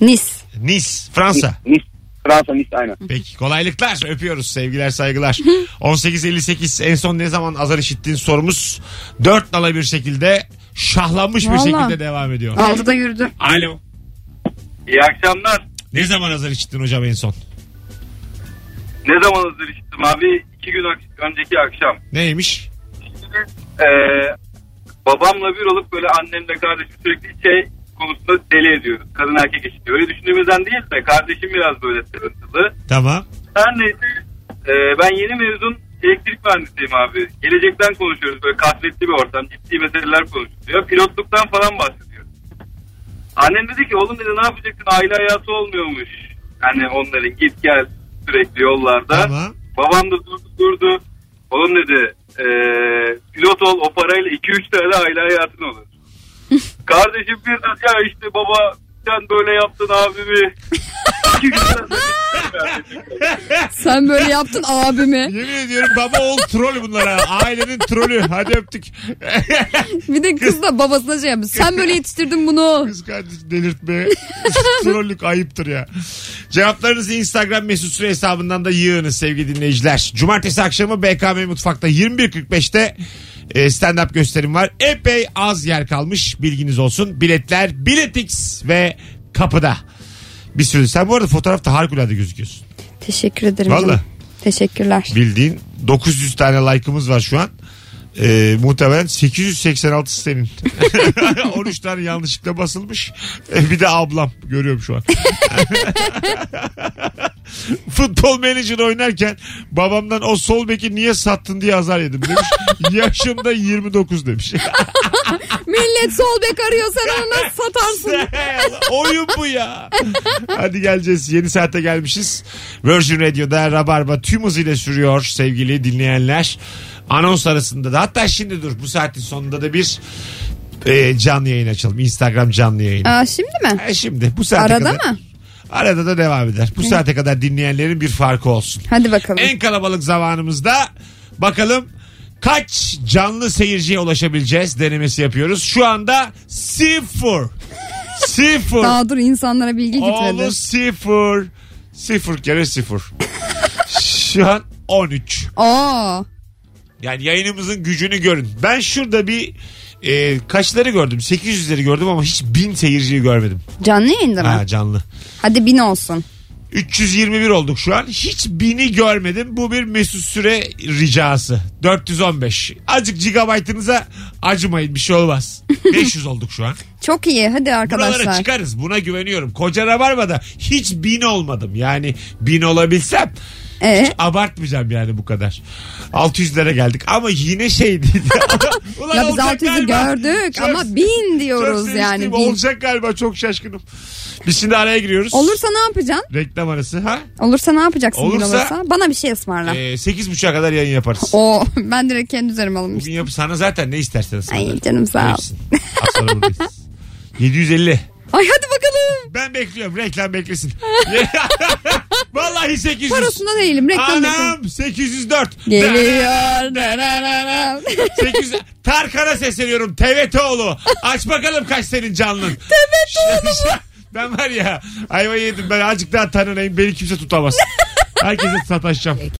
Speaker 3: Nice.
Speaker 2: Nice. Fransa.
Speaker 10: Nice, Fransa Nice aynen.
Speaker 2: Peki kolaylıklar öpüyoruz sevgiler saygılar. 18.58 en son ne zaman azar işittiğin sorumuz dört nala bir şekilde şahlanmış
Speaker 3: Vallahi.
Speaker 2: bir şekilde devam ediyor.
Speaker 3: Aldı da yürüdü.
Speaker 2: Alo.
Speaker 10: İyi akşamlar.
Speaker 2: Ne zaman azar işittin hocam en son?
Speaker 10: Ne zaman hazır içtim abi? İki gün önceki akşam.
Speaker 2: Neymiş?
Speaker 10: babamla bir olup böyle annemle kardeşim sürekli şey konusunda deli ediyoruz. Kadın erkek eşitliği. Öyle düşündüğümüzden değil de kardeşim biraz böyle sıkıntılı.
Speaker 2: Tamam.
Speaker 10: Her neyse e, ben yeni mezun elektrik mühendisiyim abi. Gelecekten konuşuyoruz böyle kasvetli bir ortam. Ciddi meseleler konuşuluyor. Pilotluktan falan bahsediyor. Annem dedi ki oğlum dedi ne yapacaksın aile hayatı olmuyormuş. Yani onların git gel sürekli yollarda.
Speaker 2: Tamam.
Speaker 10: Babam da durdu durdu. Oğlum dedi e, pilot ol o parayla 2-3 tane aile hayatın olur. Kardeşim bir de ya işte baba sen böyle yaptın abimi. İki gün sonra-
Speaker 3: Sen böyle yaptın abimi.
Speaker 2: Yemin ediyorum baba oğul troll bunlar ha. Ailenin trolü. Hadi öptük.
Speaker 3: Bir de kız da babasına şey yapmış. Sen böyle yetiştirdin bunu.
Speaker 2: Kız kardeş delirtme. Trollük ayıptır ya. Cevaplarınızı Instagram mesut süre hesabından da yığınız sevgili dinleyiciler. Cumartesi akşamı BKM Mutfak'ta 21.45'te e, stand-up gösterim var. Epey az yer kalmış bilginiz olsun. Biletler Biletix ve kapıda. Bir sürü. Sen bu arada fotoğrafta harikulade gözüküyorsun.
Speaker 3: Teşekkür ederim.
Speaker 2: Valla.
Speaker 3: canım. Teşekkürler.
Speaker 2: Bildiğin 900 tane like'ımız var şu an. Ee, muhtemelen 886 senin. 13 tane yanlışlıkla basılmış. Ee, bir de ablam görüyorum şu an. Futbol menajer oynarken babamdan o sol beki niye sattın diye azar yedim demiş. Yaşım da 29 demiş.
Speaker 3: Millet sol bek arıyor sen onu nasıl satarsın?
Speaker 2: Oyun bu ya. Hadi geleceğiz. Yeni saate gelmişiz. Virgin Radio'da Rabarba tüm hızıyla sürüyor sevgili dinleyenler. Anons arasında da hatta şimdi dur bu saatin sonunda da bir e, canlı yayın açalım. Instagram canlı yayını.
Speaker 3: Aa, şimdi mi?
Speaker 2: E, şimdi bu saate
Speaker 3: Arada
Speaker 2: kadar.
Speaker 3: mı?
Speaker 2: Arada da devam eder. Bu saate kadar dinleyenlerin bir farkı olsun.
Speaker 3: Hadi bakalım.
Speaker 2: En kalabalık zamanımızda bakalım kaç canlı seyirciye ulaşabileceğiz denemesi yapıyoruz. Şu anda sıfır. Sıfır.
Speaker 3: Daha dur insanlara bilgi gitmedi.
Speaker 2: Oğlu sıfır. Sıfır kere sıfır. Şu an 13.
Speaker 3: Aa,
Speaker 2: Yani yayınımızın gücünü görün. Ben şurada bir e, kaçları gördüm? 800'leri gördüm ama hiç 1000 seyirciyi görmedim.
Speaker 3: canlı yayında mı?
Speaker 2: Ha, canlı.
Speaker 3: Hadi bin olsun.
Speaker 2: 321 olduk şu an. Hiç bini görmedim. Bu bir mesut süre ricası. 415. Azıcık gigabaytınıza acımayın bir şey olmaz. 500 olduk şu an.
Speaker 3: Çok iyi hadi
Speaker 2: Buralara
Speaker 3: arkadaşlar.
Speaker 2: çıkarız. Buna güveniyorum. Koca Rabarba'da hiç bin olmadım. Yani bin olabilsem
Speaker 3: Ee,
Speaker 2: abartmayacağım yani bu kadar. 600'lere geldik ama yine şey değil. Ulan
Speaker 3: ya biz
Speaker 2: olacak
Speaker 3: 600'ü
Speaker 2: galiba.
Speaker 3: gördük
Speaker 2: Çok-
Speaker 3: ama bin
Speaker 2: çok
Speaker 3: diyoruz yani.
Speaker 2: sevinçliyim.
Speaker 3: Bin.
Speaker 2: Olacak galiba çok şaşkınım. Biz şimdi araya giriyoruz.
Speaker 3: Olursa ne yapacaksın?
Speaker 2: Reklam arası ha?
Speaker 3: Olursa ne yapacaksın bin
Speaker 2: Olursa-
Speaker 3: olursa? Bana bir şey ısmarla.
Speaker 2: Ee, 8.30'a kadar yayın yaparız.
Speaker 3: Oo, ben direkt kendi üzerime alınmış.
Speaker 2: Bugün yap sana zaten ne istersen sana.
Speaker 3: Ay canım sağ ol.
Speaker 2: Verirsin. Az sonra buradayız. 750.
Speaker 3: Ay hadi bakalım.
Speaker 2: Ben bekliyorum. Reklam beklesin. Vallahi 800.
Speaker 3: Parasında değilim reklam bekliyorum.
Speaker 2: Anam 804.
Speaker 3: Geliyor.
Speaker 2: Da- da- da- da- da. 800. Tarkan'a sesleniyorum. Tevetoğlu. Aç bakalım kaç senin canlın. Tevetoğlu mu? Ben var ya ayva yedim ben azıcık daha tanınayım beni kimse tutamaz. Herkese sataşacağım.